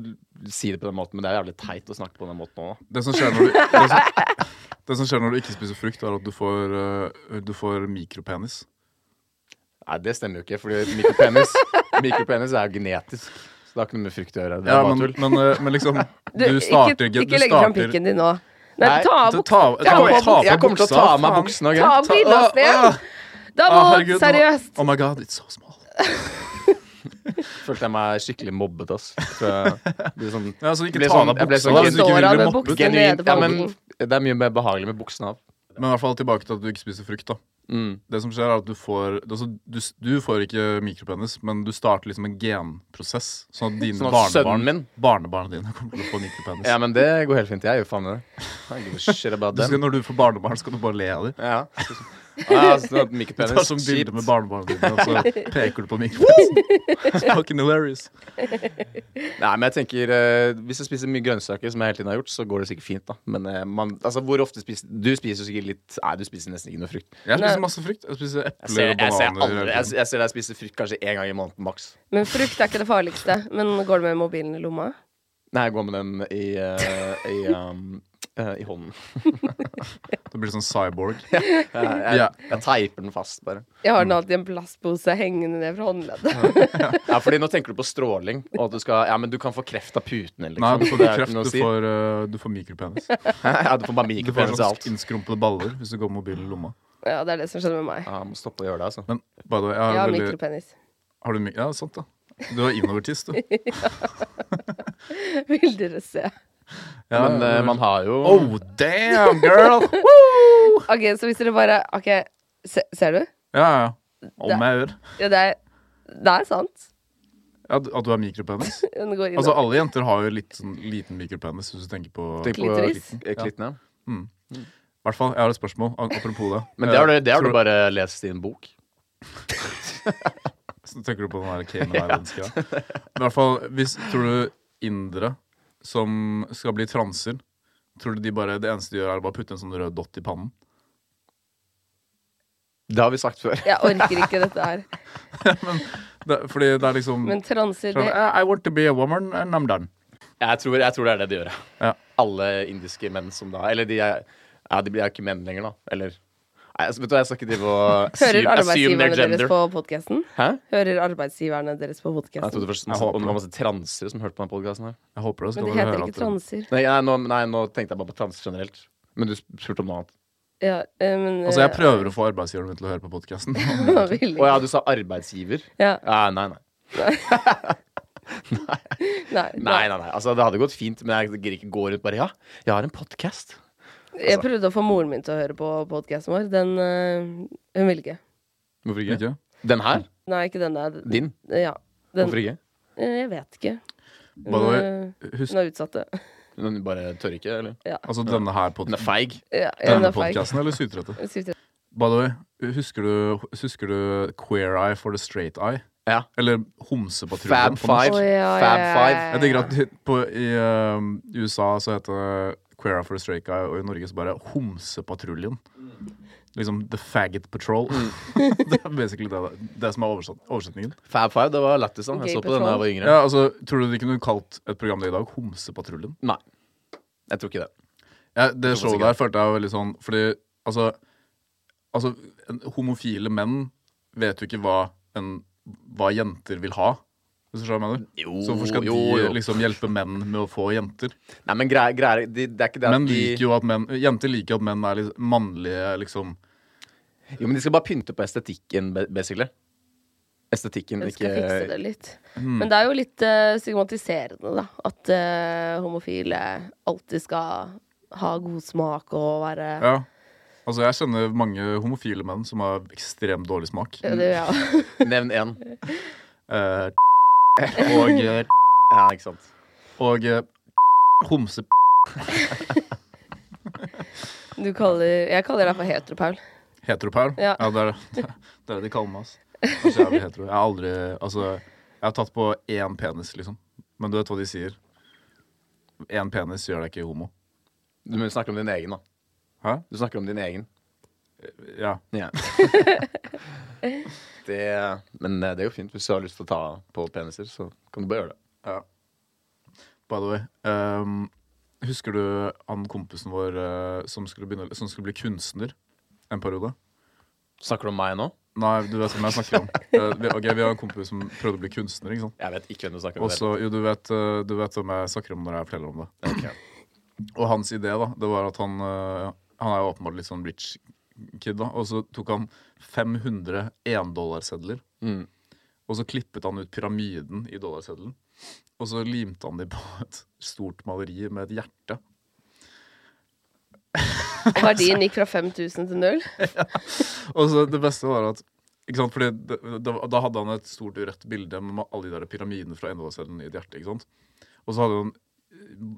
S3: si det på den måten, men det er jævlig teit å snakke på den måten òg.
S1: det som, skjer når du, det, som, det som skjer når du ikke spiser frukt, er at du får, eh, du får mikropenis.
S3: Nei, det stemmer jo ikke, fordi mikropenis, mikropenis er jo genetisk. Så det har ikke noe med frukt å gjøre. Det er
S1: Ja,
S3: bare
S1: men,
S3: tull.
S1: men, eh, men liksom
S2: Du,
S1: Du starter
S2: ikke
S1: ikke
S2: ikke legg fram pikken din nå. Nei,
S3: Nei,
S2: ta av
S1: Ta, ta,
S2: buksa.
S1: ta,
S2: på-
S1: ta på
S3: jeg kommer til å ta av meg
S1: faen.
S3: buksene.
S2: Ta
S3: ok?
S2: av glidelåsen! Da
S1: Ah,
S2: må
S1: herregud, nå-
S2: seriøst.
S1: Oh my god, it's so small.
S3: Følte jeg meg skikkelig mobbet, ass. Tror jeg. Ble sånn,
S1: Ja, så ikke
S3: Ble
S1: ta
S3: sånn-
S1: av deg
S3: jeg ble
S1: buksa.
S3: sånn
S1: da, hvis du ikke
S2: Står
S1: vil
S2: av
S1: bli
S2: med
S1: mobbet.
S2: buksa nede
S3: genuint.
S2: på
S3: Ja, men
S2: hånden.
S3: det er mye mer behagelig med buksene av.
S1: Men i hvert fall tilbake til at du ikke spiser frukt. da
S3: Mm.
S1: Det som skjer er at Du får altså, du, du får ikke mikropenis, men du starter liksom en genprosess. Sånn at dine
S3: Sånn at
S1: barnebarn
S3: sønnen min-
S1: Barnebarna dine kommer til å få mikropenis.
S3: Ja, men det går helt fint. Jeg gjør faen i det. I give a shit about
S1: du skal,
S3: them.
S1: når du får barnebarn, skal du bare le av dem.
S3: Ja. Ja, sånn
S1: Du tar
S3: at mikropenis
S1: sånn
S3: Kjipt.
S1: bilde med barnebarna dine, og så peker du på mikropenis. Fucking hilarious.
S3: Nei, men jeg tenker eh, Hvis jeg spiser mye grønnsaker, som jeg hele tiden har gjort, så går det sikkert fint. da Men eh, man, altså, hvor ofte spiser Du spiser jo sikkert litt Nei, du spiser nesten ikke noe frukt.
S1: Jeg
S2: Nei.
S1: spiser masse frukt. Jeg spiser
S3: Jeg ser,
S1: epler og
S3: jeg,
S1: bananer.
S3: ser
S1: sånn.
S3: aldri,
S1: hele
S3: jeg,
S1: tiden.
S3: jeg ser deg spise frukt kanskje én gang i måneden maks.
S2: Men frukt er ikke det farligste. Men går det med mobilen i lomma?
S3: Nei, jeg går med den i, eh, i, um, eh, i hånden.
S1: Det blir sånn cyborg.
S3: Jeg, jeg,
S1: Ja.
S3: jeg teiper den fast, bare.
S2: Jeg har den alltid i en plastpose hengende ned fra håndleddet.
S3: Ja, fordi nå tenker du på stråling, og at du skal Ja, men du kan få kreft av putene, liksom.
S1: Nei, du
S3: Så
S1: får
S3: det
S1: ikke
S3: er ikke
S1: kreft.
S3: noe å
S1: Du
S3: si.
S1: får, eh, du får mikropenis.
S3: Ja, du får bare
S1: Du får
S3: mikropenis og alt.
S1: sånn innskrumpede baller hvis du går med mobilen i lomma.
S2: Ja, det er det som skjedde med meg.
S3: Ja, jeg må stoppe å gjøre det, altså.
S1: Men by the way, jeg har
S2: Jeg har
S1: veldig
S2: mikropenis.
S1: Har du mik ja, sant da. Du er innovertist, du.
S2: Vil dere se.
S1: Ja,
S3: men eh, man har jo
S1: Oh, damn, girl! Woo!
S2: Ok, så hvis dere bare Ok, se, ser du?
S1: Ja, ja. Om jeg gjør.
S2: Ja, det er, det er sant.
S1: Ja, du- at du har mikropenis?
S2: Den går inn
S1: Altså, alle jenter har jo litt sånn liten mikropenis, hvis du tenker på
S3: Tenk på
S2: Klitoris?
S3: klitten, eh, klitten, ja.
S1: I hvert fall, jeg har et spørsmål ap- apropos det.
S3: Men det har, du, det har
S1: Tror-
S3: du bare lest i en bok.
S1: Så tenker du på den der Cayman Islands-greia. Men I hvert fall, hvis, tror du indere som skal bli transer Tror du de bare, Det eneste de gjør, er å bare putte en sånn rød dott i pannen?
S3: Det har vi sagt før.
S2: Jeg orker ikke dette her.
S1: Det, fordi det er liksom
S2: Men transer,
S1: sånn,
S2: det
S1: I I want to be a woman and I'm done.
S3: Jeg tror, jeg tror det er det de gjør.
S1: Ja.
S3: Alle indiske menn som da Eller de er, ja, de blir jo ikke menn lenger, da. Eller Nei, altså, vet du hva, jeg skal ikke drive og
S2: Hører
S3: assume- assume their
S2: arbeidsgiverne deres
S3: gender.
S2: på podkasten?
S3: Hæ?
S2: Hører arbeidsgiverne deres på
S3: Jeg trodde
S2: podkasten?
S3: først
S1: Jeg
S3: masse,
S1: håper
S3: om det var masse transer som hørte på den podkasten her.
S1: Jeg håper det. så
S2: Men
S1: kan
S2: det
S1: dere
S2: heter
S1: høre at
S2: ikke
S1: det-
S2: transer.
S3: Nei, nei, nå, nei, nå tenkte jeg bare på transer generelt. Men du spurte om noe annet.
S2: Ja, eh, men,
S1: Altså, jeg prøver å få arbeidsgiveren min til å høre på podkasten.
S2: prøver vil
S3: Mm. Å ja,
S2: ikke.
S3: du sa arbeidsgiver?
S2: Ja,
S3: Ja, nei, nei.
S2: nei,
S3: Nei, nei, nei. Altså, det hadde gått fint, men jeg gidder ikke gå rundt bare Ja, jeg har en podkast.
S2: Jeg prøvde å få moren min til å høre på podkasten vår. Den eh, Hun vil ikke.
S3: Hvorfor ikke?
S1: Ikke?
S3: Den her?
S2: Nei, ikke den der.
S3: Din?
S2: Ja. Den,
S3: Hvorfor ikke?
S2: eh, jeg vet ikke. Hun,
S1: By the way,
S2: eh,
S1: husk-
S2: hun er utsatt. det.
S3: Den bare tør ikke, eller?
S1: Altså denne her pod
S3: Den er feig.
S2: Ja, hun
S1: denne
S2: er feig.
S1: podcasten, eller sytrette?
S2: Sykt.
S1: By the way, husker du, husker du Queer Eye for the Straight Eye?
S3: Ja.
S1: Eller
S3: Fab
S1: Homsepatruljen? på norsk?
S3: Five.
S2: Å, ja, ja,
S3: Fab
S2: ja,
S3: Five.
S2: ja,
S1: Jeg tenker at på, i ehm, USA så heter det Queer Eye for the Straight Eye, og i Norge så bare Homsepatruljen. Liksom The Faggot Patrol.
S3: Mm.
S1: det er basically det, det som er oversatt, oversetningen.
S3: Fab Five, det var lættis. da.
S2: Gay
S3: Jeg så på den da jeg var yngre.
S1: Ja, altså, Tror du de kunne kalt et program det i dag Homsepatruljen?
S3: Nei. Jeg tror ikke det.
S1: Ja, det
S3: Såpass
S1: showet
S3: ikke.
S1: der følte jeg var veldig sånn Fordi altså, altså en- Homofile menn vet jo ikke hva, en, hva jenter vil ha. Hvis du skjønner hva jeg mener.
S3: Jo,
S1: Så hvorfor skal
S3: jo,
S1: de
S3: jo.
S1: liksom hjelpe menn med å få jenter?
S3: Nei, men greier, greier de, Det er ikke det at
S1: Menn
S3: de
S1: liker jo at menn Jenter liker jo at menn er litt mannlige, liksom.
S3: Jo, men de skal bare pynte på estetikken, ba- basically. Estetikken,
S2: Hun
S3: ikke Mm.
S2: skal fikse det litt.
S1: Hmm.
S2: Men det er jo litt eh, stigmatiserende, da. At eh, homofile alltid skal ha god smak og være ja.
S1: Ja. Altså, jeg kjenner mange homofile menn som har ekstremt dårlig smak.
S2: Det, gjør jeg også.
S3: Nevn én.
S1: Eh, og eh,
S3: Ja, ikke sant.
S1: og eh, homse...
S2: Du kaller, jeg kaller deg for heteropaul.
S1: Heteropaul?
S2: Ja.
S1: det er det det er det de kaller meg. ass. Altså, jeg, er jævlig hetero. jeg har aldri Altså, jeg har tatt på én penis, liksom. Men du vet hva de sier? Én penis gjør deg ikke homo.
S3: Du må snakke om din egen, da.
S1: Hæ?
S3: Du snakker om din egen.
S1: Ja.
S3: Ja. det, men eh, det er jo fint. Hvis du har lyst til å ta på peniser, så kan du bare gjøre det.
S1: ja. By the way. ehm, husker du han kompisen vår eh, som, skulle begynne, som skulle bli kunstner en periode?
S3: Snakker du om meg nå?
S1: Nei, du vet hvem jeg snakker om. Eh, vi, ok, Vi har en kompis som prøvde å bli kunstner. ikke sant?
S3: Jeg vet ikke hvem du snakker om.
S1: Og så, jo, du vet, eh, du vet hvem jeg snakker om når jeg forteller om det.
S3: det. Ok.
S1: Og hans idé da, det var at han øh, Han er jo åpenbart litt sånn rich kid da Og så tok han 500 1-dollarsedler
S3: Mm.
S1: Og så klippet han ut pyramiden i dollarseddelen Og så limte han dem på et stort maleri med et hjerte
S2: Verdien gikk fra 5000 til null.
S1: Og så det beste var at ikke sant? Fordi det, det, Da hadde han et stort rødt bilde med alle de der pyramidene fra endedalsseddelen i et hjerte. ikke sant? Og så hadde han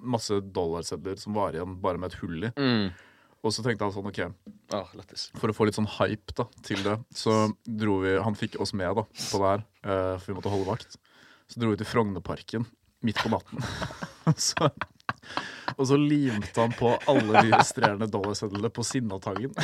S1: masse dollarsedler som var igjen bare med et hull i.
S3: Mm.
S1: Og så tenkte han sånn OK,
S3: Åh, lættis.
S1: for å få litt sånn hype da, til det, så dro vi Han fikk oss med da, på det her, eh, for vi måtte holde vakt. Så dro vi til Frognerparken midt på natten. så, og så limte han på alle de resterende dollarsedlene på Sinnataggen.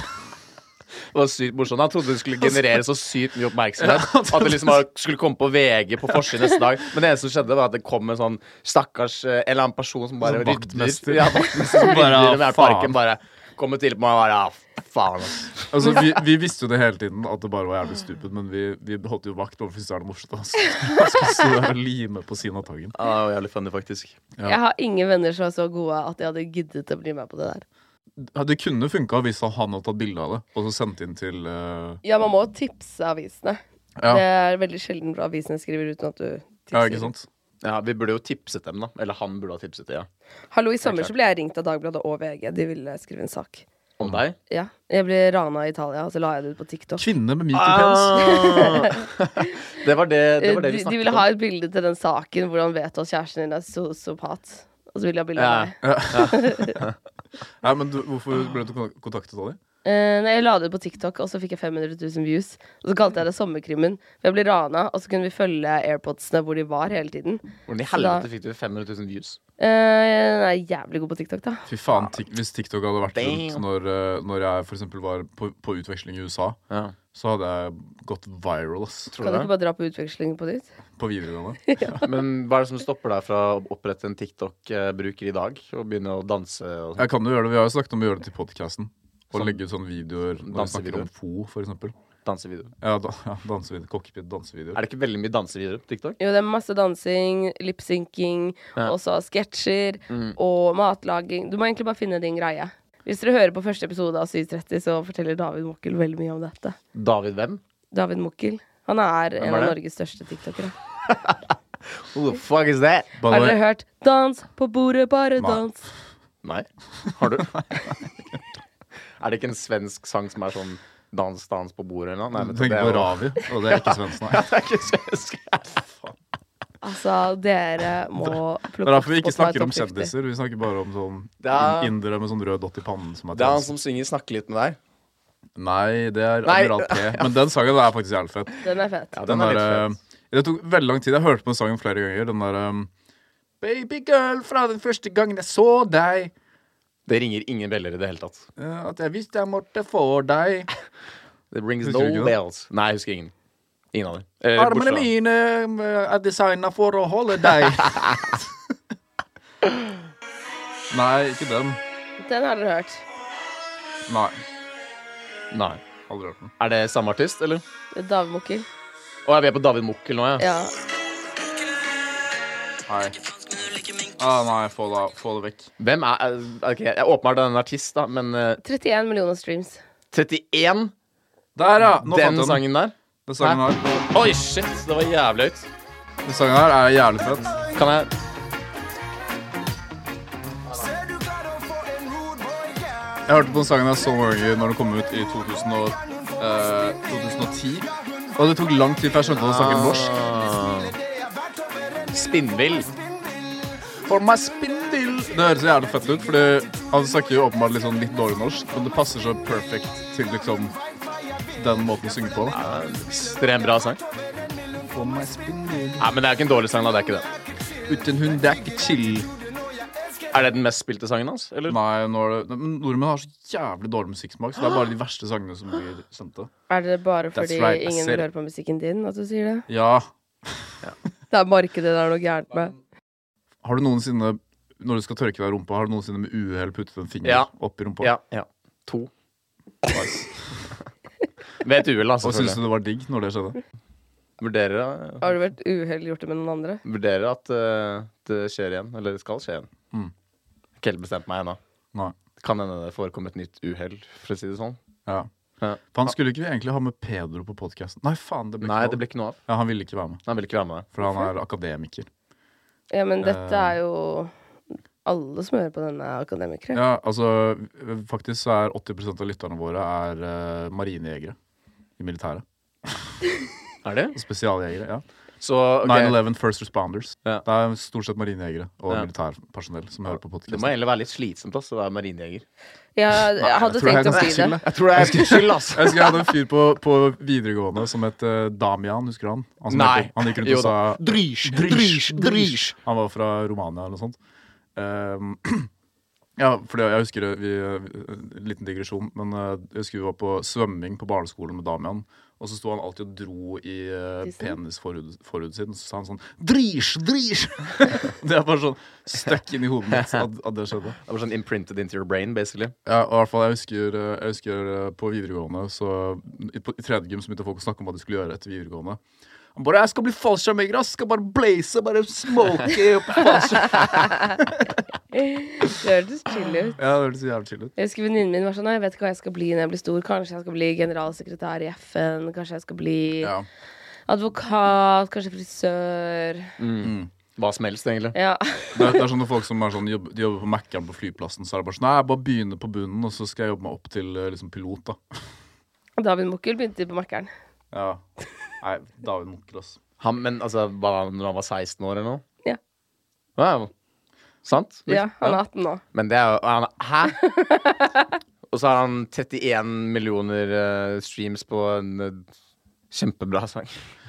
S3: Det var sykt morsomt. Han trodde det skulle generere så sykt mye oppmerksomhet. At det liksom bare skulle komme på VG på forsiden neste dag. Men det eneste som skjedde, var at det kom en sånn stakkars eh, En eller annen person som bare
S1: Sånn vaktmester.
S3: Ja, vaktmester som
S1: Bare,
S3: rydder i
S1: ah,
S3: den her parken. Bare kommer til på meg og bare ah, faen, ass.
S1: Altså, vi, vi visste jo det hele tiden, at det bare var jævlig stupid, men vi, vi holdt jo vakt overfor Stjerne Morset. Altså. Han skulle stå der og lime på Sinnataggen.
S3: Ah, det var jævlig funny, faktisk.
S1: Ja.
S2: Jeg har ingen venner som er så gode at de hadde giddet å bli med på det der.
S1: Det kunne funka hvis han hadde tatt bilde av det og så sendt inn til eh,
S2: Ja, man må tipse avisene.
S1: Ja.
S2: Det er veldig sjelden bra avisene skriver uten at du tipser.
S1: Ja, ikke sant?
S3: Ja, Vi burde jo tipset dem, da. Eller han burde ha tipset dem, ja.
S2: Hallo, i sommer
S3: klart.
S2: så ble jeg ringt av Dagbladet og VG. De ville skrive en sak.
S3: Om deg?
S2: Ja. Jeg ble rana i Italia, og så la jeg det ut på TikTok.
S1: Kvinne med myk penis.
S3: Ah. det var det, det, var det
S2: Eh, de,
S3: vi
S2: de
S3: snakket
S2: ville
S3: om.
S2: ha et bilde til den saken hvor han vet at kjæresten din er sosiopat. Og så ville jeg ha bilde av
S3: Ja.
S2: meg.
S1: Nei, men du, Hvorfor ble du kon- kontaktet av dem?
S2: Eh, nei, jeg la det ut på TikTok, og så fikk jeg 500 000 views. Og så kalte jeg det Sommerkrimmen. For jeg ble rana, og så kunne vi følge airpodsene hvor de var hele tiden.
S3: Hvordan i
S2: Så da-
S3: helvete fikk du 500 000 views?
S2: Eh, jeg er jævlig god på TikTok, da.
S1: Fy faen, tik Hvis TikTok hadde vært rundt
S3: Damn.
S1: når, eh, når jeg for eksempel var på, på utveksling i USA,
S3: Ja.
S1: så hadde jeg gått viral ass,
S2: Kan du ikke bare dra på utveksling på ditt?
S1: på videregående.
S3: Men hva er det som stopper deg fra å opprette en TikTok-bruker i dag og begynne å danse? Og sånn? sånt?
S1: Jeg kan jo gjøre det, Vi har jo snakket om å gjøre det til podkasten. Og
S3: Sånn
S1: legge ut sånne videoer når vi snakker om FO, for eksempel.
S3: dansevideo?
S1: Ja, da, ja, dansevideo, Kokkepidd, dansevideoer.
S3: Er det ikke veldig mye dansevideoer på TikTok?
S2: Jo, det er masse dansing, lipsynking,
S3: Ja.
S2: og så sketsjer
S1: Mm.
S2: og matlaging. Du må egentlig bare finne din greie. Hvis dere hører på første episode av 730, så forteller David Mokkel veldig mye om dette.
S3: David hvem?
S2: David Mokkel. Han er en
S3: er
S2: av
S3: det?
S2: Norges største tiktokere.
S3: Who the fuck is that?
S1: By the
S2: Har dere
S1: way,
S2: hørt 'Dans på bordet, bare
S1: Nei.
S2: dans'?
S3: Nei. Har du? er det ikke en svensk sang som er sånn dans, dans på bordet eller noe? Nei,
S1: du
S3: vet du,
S1: tenker
S3: det er
S1: på
S3: jo-
S1: Ravi, og det er ikke svensk, nei.
S3: Det er ikke svensk.
S2: Altså, dere må
S1: Det er
S2: plukke
S1: derfor vi
S2: opp
S1: ikke
S2: og ta
S1: snakker
S2: et
S1: om
S2: topp 50.
S1: kjendiser. Vi snakker bare om sånn
S3: Det er-
S1: in- indere med sånn rød dott i pannen som er
S3: Det er han
S1: trans.
S3: som synger 'Snakke litt med deg'.
S1: Nei, det er
S3: Nei.
S1: Admiral P. Men den sangen er faktisk jævlig fett.
S2: Den er fet.
S3: Ja,
S1: Den
S3: den er
S1: der,
S3: litt fet.
S1: eh, Det tok veldig lang tid. Jeg hørte på den sangen flere ganger. Den der um, Babygirl, fra den første gangen jeg så deg,
S3: Det ringer ingen beller i det hele tatt.
S1: eh, at jeg visste jeg måtte få deg.
S3: Det rings
S1: Husker du ikke
S3: no
S1: det?
S3: bells. Nei, jeg husker ingen. Ingen av dem. Eh,
S1: Armene
S3: bortsett fra-
S1: mine eh, er designa for å holde deg. Nei, ikke den.
S2: Den har dere hørt.
S1: Nei.
S3: Nei.
S1: Aldri hørt den.
S3: Er det samme artist, eller?
S2: David Mokkel.
S3: Å, ja, vi er på David Mokkel nå, ja.
S2: Ja.
S1: Nei. Ah, nei, få det, få det vekk.
S3: Hvem er eh, Ok, jeg åpenbart er en artist, da, men eh,
S2: 31 millioner streams.
S3: 31?
S1: Der, ja! Nå
S3: Den
S1: fant jeg den.
S3: sangen der?
S1: Den sangen her,
S3: Oi, shit! Det var jævlig høyt.
S1: den sangen her er jævlig fett.
S3: Kan jeg
S1: Jeg hørte på den sangen her så mange ganger når den kom ut i 2000 og, eh, 2010. Og det tok lang tid før jeg skjønte at han
S3: Ah.
S1: snakket norsk.
S3: Spinnvill.
S1: For meg spindel Det høres så jævlig fett ut, Fordi han snakker jo åpenbart litt, sånn litt dårlig norsk. Men det passer så perfekt til liksom den måten å synge på. da.
S3: Ekstremt bra sang. Nei, men det er ikke en dårlig sang, da. Det er ikke det.
S1: Uten hun, det er ikke chill.
S3: Er det den mest spilte sangen hans? Eller?
S1: Nei, nå er det, men nordmenn har så jævlig dårlig musikksmak, så det er bare de verste sangene som blir sendt. da.
S2: Er det bare fordi
S1: right, jeg
S2: ingen
S1: ser
S2: vil
S1: det.
S2: høre på musikken din at du sier det?
S1: Ja.
S2: Det er markedet det er noe gærent med.
S1: Har du noensinne, når du skal tørke deg i rumpa, har du noensinne med uhell puttet en finger
S3: Ja.
S1: opp i rumpa?
S3: Ja. ja. To.
S1: Nice.
S3: Ved et uhell, altså.
S1: Og syns du det var digg når det skjedde?
S3: Vurderer,
S2: Har du vært uheldig gjort det med noen andre?
S3: vurderer at eh, det skjer igjen. Eller det skal skje igjen.
S1: Mm.
S3: Ikke helt bestemt meg ennå.
S1: Nei.
S3: Kan hende det forekom et nytt uhell, for å si det sånn.
S1: Ja.
S3: Ja.
S1: For han skulle ikke vi egentlig ha med Pedro på podkasten. Nei, faen, det ble
S3: Nei,
S1: ikke
S3: det
S1: lov.
S3: ble ikke noe av.
S1: Ja, han ville ikke være med,
S3: Han ville ikke være med.
S1: for han er akademiker.
S2: Ja, men
S1: Eh.
S2: dette er jo alle som hører på denne akademikere.
S1: Ja, altså, Faktisk så er 80 av lytterne våre er eh, marinejegere i militæret.
S3: Er det?
S1: Spesialjegere. ja
S3: Så ok,
S1: 9-11 First Responders.
S3: Ja.
S1: Det er stort sett marinejegere og
S3: Ja.
S1: militærpersonell som hører på
S3: det må
S1: podkasten.
S3: egentlig være litt slitsomt ass, å være marinejeger.
S2: Ja, jeg hadde tenkt å bli det.
S1: Jeg
S3: tror det er skyld, ass.
S1: Jeg husker jeg hadde en fyr på, på videregående som het eh, Damian, husker du han? Han, som
S3: Nei.
S1: gikk- han gikk rundt
S3: Jo
S1: og sa
S3: da. Drysj, drysj, drysj.
S1: Han var fra Romania eller noe sånt. Ehm, ja, fordi jeg husker det- vi, En liten digresjon, men eh, jeg husker vi var på svømming på barneskolen med Damian. Og så sto han alltid og dro i uh,
S2: Tissen?
S1: penisforhuden sin, og så sa han sånn Drish, drish! det er bare sånn stuck inn i hodet mitt at, at det skjedde.
S3: Det var sånn imprinted into your brain, basically.
S1: Ja, og i hvert fall, jeg husker, eh, jeg husker eh, på videregående så, I, på, i tredje gym så begynte folk å snakke om hva de skulle gjøre etter videregående. Han bare 'Jeg skal bli fallskjermjeger, ass! Skal bare blaze, bare smoke opp fallskjerm'.
S2: Det hørtes chill ut.
S1: ja, det hørtes så jævlig chill ut.
S2: Jeg husker venninnen min var sånn «Nei, Jeg vet ikke hva jeg skal bli når jeg blir stor. Kanskje jeg skal bli generalsekretær i FN. Kanskje jeg skal bli
S1: Ja.
S2: advokat. Kanskje frisør.
S3: Hva som helst, egentlig.
S2: Ja.
S1: Det, er- det er sånne folk som er sånn, jobb, de jobber på Mækkern på flyplassen, så er det bare sånn 'Nei, jeg bare begynner på bunnen, og så skal jeg jobbe meg opp til eh, liksom, pilot', da.
S2: David Mokkel begynte på Mækkern.
S1: Ja. Nei, David Munker, ass.
S3: Han, men altså, var han når han var 16 år eller noe?
S2: Ja.
S3: Wow. Sant?
S2: Ja, han er 18 nå.
S3: Men det er jo han, Hæ? Og så har han 31 millioner eh, streams på en eh, kjempebra sang.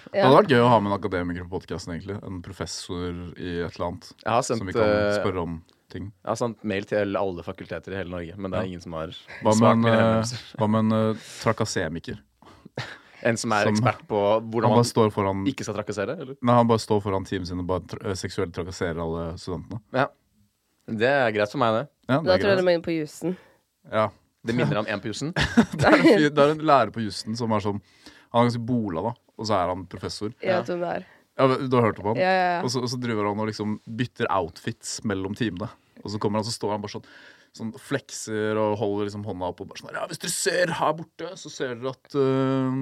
S1: Det
S2: Ja.
S1: hadde vært gøy å ha med en akademiker på podkasten, egentlig. En professor i et eller annet.
S3: Jeg har sendt,
S1: Som vi
S3: eh,
S1: kan spørre om ting.
S3: Jeg har sendt mail til alle fakulteter i hele Norge, men det er ingen som har
S1: Hva
S3: svart
S1: med en,
S3: mine
S1: eh,
S3: henvendelser.
S1: hva med en eh, trakassemiker?
S3: En som er
S1: som-
S3: ekspert på
S1: Han
S3: hvordan
S1: bare
S3: man
S1: står foran
S3: ikke skal trakassere? Eller?
S1: Nei, han bare står foran teamet sin og bare tra eh, seksuelt trakasserer alle studentene.
S3: Ja. Det er greit for meg, det.
S1: Ja, det
S2: Da
S1: er
S2: tror jeg de
S1: greit.
S2: må inn på jusen.
S1: Ja.
S3: Det minner om 1 på jussen.
S1: Det, er en fyr, det er en lærer på jussen som er sånn Han er ganske bola, da, og så er han professor.
S2: Jeg vet hvem det er.
S1: Ja, men Du har hørt om han?
S2: Ja, ja, ja.
S1: Og, så, og så driver han og liksom bytter outfits mellom timene. Og så kommer han, så står han bare sånn Sånn flekser og holder liksom hånda opp og bare sånn Ja, hvis dere ser her borte, så ser dere at øh,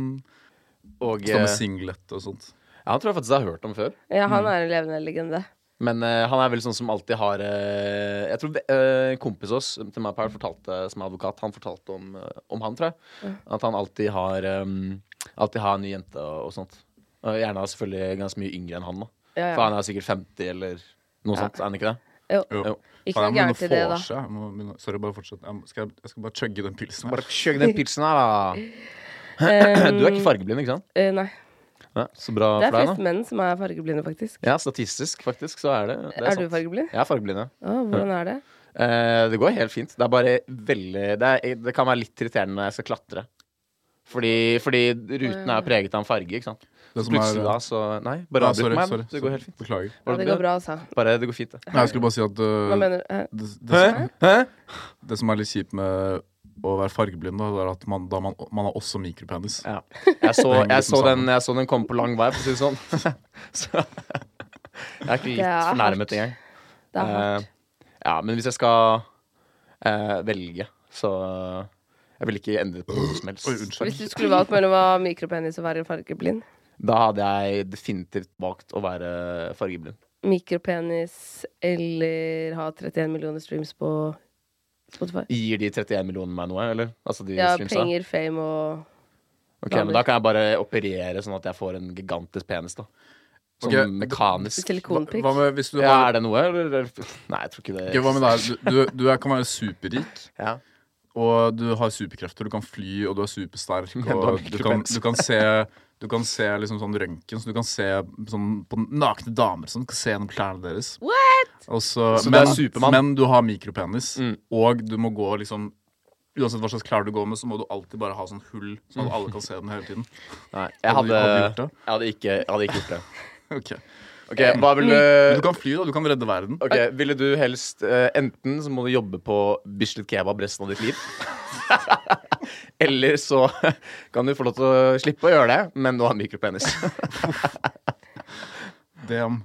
S3: Og
S1: Står med
S3: eh,
S1: singlet og sånt.
S3: ja, han tror jeg faktisk jeg har hørt om før.
S2: Ja,
S3: Mm.
S2: han er en levende legende.
S3: Men eh, han er vel sånn som alltid har eh, Jeg tror ve- eh, en kompis oss til meg på her fortalte, som er advokat, han fortalte om, eh, om han, tror jeg. At han alltid har em, Alltid har en ny jente og, og sånt. Og gjerne er selvfølgelig ganske mye yngre enn han, da.
S2: Ja,
S3: For
S2: ja.
S3: han er sikkert 50 eller noe sånt, er han ikke det?
S2: Jo.
S1: Jo.
S3: Jo.
S2: Ikke
S1: Faen, jeg må
S2: noe gærent i
S1: begynne
S2: det,
S1: å
S2: da.
S1: forse. Jeg må begynne- Sorry, bare fortsett. Jeg, må- skal, jeg, jeg skal bare chugge den pilsen her.
S3: Bare kjøk den pilsen her, da. Du er ikke fargeblind, ikke sant?
S2: Eh, nei.
S3: Ja, så bra
S2: Det er
S3: for deg,
S2: flest
S3: da.
S2: menn som er fargeblinde, faktisk.
S3: Ja, statistisk, faktisk, så er det. det
S2: Er du
S3: sant.
S2: fargeblind?
S3: Jeg er fargeblind, ja.
S2: Å, hvordan er det?
S3: Eh, det går helt fint. Det er bare veldig det, er, det kan være litt irriterende når jeg skal klatre. Fordi, fordi ruten er preget av en farge, ikke sant.
S1: Det som er-
S3: Plutselig da, så Nei, bare
S1: Ja,
S3: avbryt
S1: sorry,
S3: meg.
S1: sorry,
S3: da. Det Mm. går helt fint.
S1: Beklager.
S2: Ja, det går bra, altså.
S3: Bare, det går fint, det.
S1: Nei, jeg skulle bare si at øh,
S2: Hva mener du? Eh,
S1: det, det,
S3: Hæ?
S1: som,
S3: Hæ?
S1: det som er litt kjipt med å være fargeblind, da, det er at man, da man, man har også mikropenis.
S3: Ja. Jeg, så,
S1: henger
S3: jeg,
S1: liksom
S3: så den,
S1: sammen.
S3: jeg så den komme på lang vei, for å si det sånn. Så jeg er
S2: Det
S3: ikke litt
S2: er hardt.
S3: fornærmet engang.
S2: Det er hardt.
S3: Eh, ja, men hvis jeg skal eh, velge, så Jeg vil ikke endre på noe som helst.
S1: Oi, unnskyld.
S2: Hvis du skulle valgt mellom å ha mikropenis og være fargeblind
S3: Da hadde jeg definitivt valgt å være fargeblind.
S2: Mikropenis eller ha 31 millioner streams på Spotify?
S3: Gir de 31 millionene meg noe, eller? Altså de
S2: Ja,
S3: streamsa?
S2: penger, fame og
S3: Ok, men da kan jeg bare operere sånn at jeg får en gigantisk penis, da. Sånn
S1: Ok. Hva,
S3: mekanisk.
S2: silikonpikk.
S1: hva med hvis du
S3: Ja,
S1: har
S3: er det noe, eller? Nei, jeg tror ikke det.
S1: Ok, Hva med deg? Du, du, du er- kan være superrik,
S3: Ja.
S1: Og du har superkrefter. Du kan fly, og du er supersterk.
S3: Ja, du har
S1: Og du kan,
S3: mikrobens.
S1: du kan se Du kan se liksom sånn røntgen, så du kan se sånn på nakne damer sånn, du kan se gjennom klærne deres. Og så,
S3: Så det
S1: men,
S3: er Supermann.
S1: men du har mikropenis,
S3: Mm.
S1: og du må gå liksom Uansett hva slags klær du går med, så må du alltid bare ha sånn hull,
S3: Mm.
S1: sånn at alle kan se den hele tiden.
S3: Nei, jeg
S1: Hadde- hadde
S3: hadde,
S1: du gjort det?
S3: jeg hadde, ikke, jeg hadde ikke gjort det.
S1: Ok Eh,
S3: Ok, Hva ville
S2: Mm.
S1: Men Du kan fly, da. Du kan redde verden.
S3: Ok, Ville du helst eh, Enten så må du jobbe på Bislett Kebab resten av ditt liv. Eller så kan du få lov til å slippe å gjøre det, men du har mikropenis.
S1: Damn.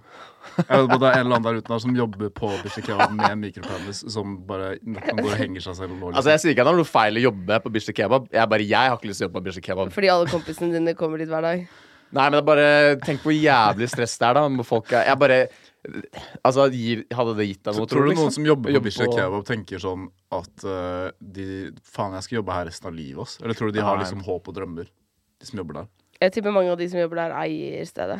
S1: Jeg vet bare Det er en eller annen der ute der som jobber på Bishikava med mikropenis, som bare som går og henger seg selv og lå
S3: Altså Jeg sier ikke at det er noe feil å jobbe på Bislett Kebab. Jeg bare, jeg har ikke lyst til å jobbe på Bislett Kebab.
S2: Fordi alle kompisene dine kommer dit hver dag.
S3: Nei, men det er bare Tenk hvor jævlig stress det er, da. Med folk er, jeg bare Altså, gir, hadde det gitt deg noe?
S1: Tror du
S3: liksom?
S1: noen som jobber på
S3: Jobbe
S1: Bislett Kebab, tenker sånn at eh, de Faen, jeg skal jobbe her resten av livet, ass. Eller tror du de har
S3: Nei.
S1: liksom håp og drømmer, de som jobber der?
S2: Jeg tipper mange av de som jobber der, eier stedet.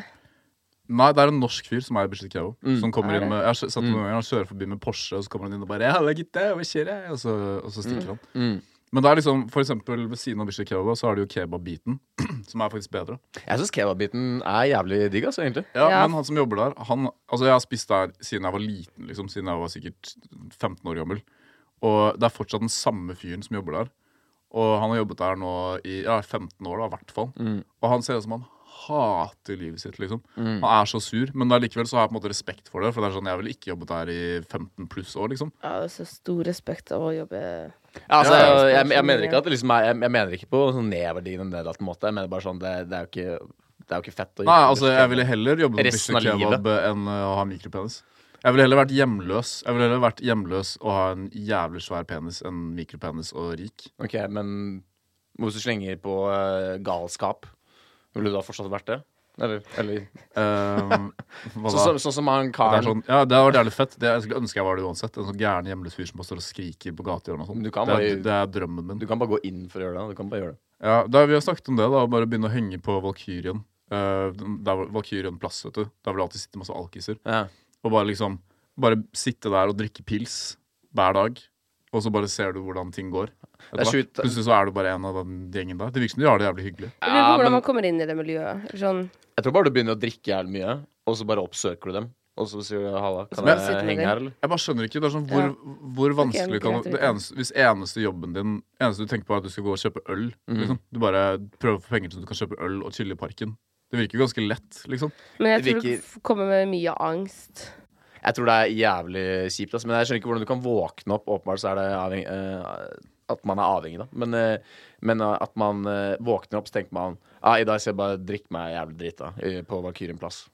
S1: Nei, det er en norsk fyr som er i Bislett Kebab. Som kommer
S2: Er
S1: inn med Jeg har sett ham noen ganger, han kjører forbi med Porsche, og så kommer han inn og bare Halla, gutta, hva skjer? jeg?» Og så, og så stikker han. Men det er liksom, for eksempel ved siden av Bislett Kebab, så har de jo kebabbiten, som er faktisk bedre.
S3: Jeg syns kebabbiten er jævlig digg, altså, egentlig.
S1: Ja,
S2: Ja.
S1: men han som jobber der han, Altså, jeg har spist der siden jeg var liten, liksom. Siden jeg var sikkert 15 år gammel. Og det er fortsatt den samme fyren som jobber der. Og han har jobbet der nå i ja, 15 år, da, i hvert fall.
S3: Mm.
S1: Og han ser ut som han hater livet sitt, liksom. Han er så sur, men allikevel så har jeg på en måte respekt for det. For det er sånn, jeg ville ikke jobbet der i 15 pluss år, liksom.
S2: Ja, det er så stor respekt av å jobbe
S3: Ja, altså,
S1: Ja, ja,
S3: jeg,
S2: ja.
S3: jeg, mener ikke at det liksom er Jeg, jeg mener ikke på sånn nedverdigende nedlatende måte. Jeg mener bare sånn Det, det er jo ikke Det er jo ikke fett å
S1: Nei, altså, jeg ville heller jobbe på
S3: Resten
S1: Bislett
S3: av
S1: Kebab enn uh, å ha mikropenis. Jeg ville heller vært hjemløs Jeg ville heller vært hjemløs og ha en jævlig svær penis enn mikropenis og rik.
S3: Ok, men hvis du slenger på eh, galskap, ville du da fortsatt vært det? Eller, eller
S1: Ehm, hva
S3: Sånn
S1: da?
S3: som- sånn som han
S1: det er
S3: karen
S1: sånn, ja, det hadde vært jævlig fett. Det, jeg skulle ønske jeg var det uansett. En sånn gæren hjemløs fyr som bare står og skriker på gatehjørnet og sånn.
S3: Men du
S1: Det,
S3: kan
S1: er-
S3: bare-
S1: det er drømmen min.
S3: Du kan bare gå inn for å gjøre det. Du kan bare gjøre det.
S1: Ja, da, vi har snakket om det, da. å Bare begynne å henge på Valkyrien. Eh, den- der Valkyrien plass, vet du. Der vil det alltid sitte masse alkiser.
S3: Ja.
S1: Og bare liksom Bare sitte der og drikke pils hver dag. Og så bare ser du hvordan ting går. etter
S3: Det er
S1: hvert.
S3: sjukt. eh.
S1: Plutselig så er du bare en av den gjengen der. Det virker som de har det jævlig hyggelig.
S2: Jeg lurer på
S3: Ja,
S2: hvordan
S3: men-
S2: man kommer inn i det miljøet. Sånn,
S3: Jeg tror bare du begynner å drikke jævlig mye, og så bare oppsøker du dem. Og så sier du 'halla, kan
S1: Men-
S3: jeg henge her', eller?
S1: Jeg bare skjønner ikke. det er sånn, Hvor, hvor vanskelig
S2: Ok,
S1: kan
S2: greit,
S1: det
S2: greit.
S1: eneste, Hvis eneste jobben din Eneste du tenker på, er at du skal gå og kjøpe øl.
S3: Mhm.
S1: Liksom. Du bare prøver å få penger til at du kan kjøpe øl og chille i parken. Det virker jo ganske lett, liksom.
S2: men jeg
S3: Det
S2: tror det
S3: virker-
S2: f- kommer med mye angst.
S3: Jeg tror det er jævlig kjipt, altså, men jeg skjønner ikke hvordan du kan våkne opp. Åpenbart så er det avheng- eh, at man er avhengig, da. Men, eh, men eh, at man eh, våkner opp, så tenker man ah, 'I dag skal jeg bare drikke meg jævlig drit da, i- på Valkyrien plass'.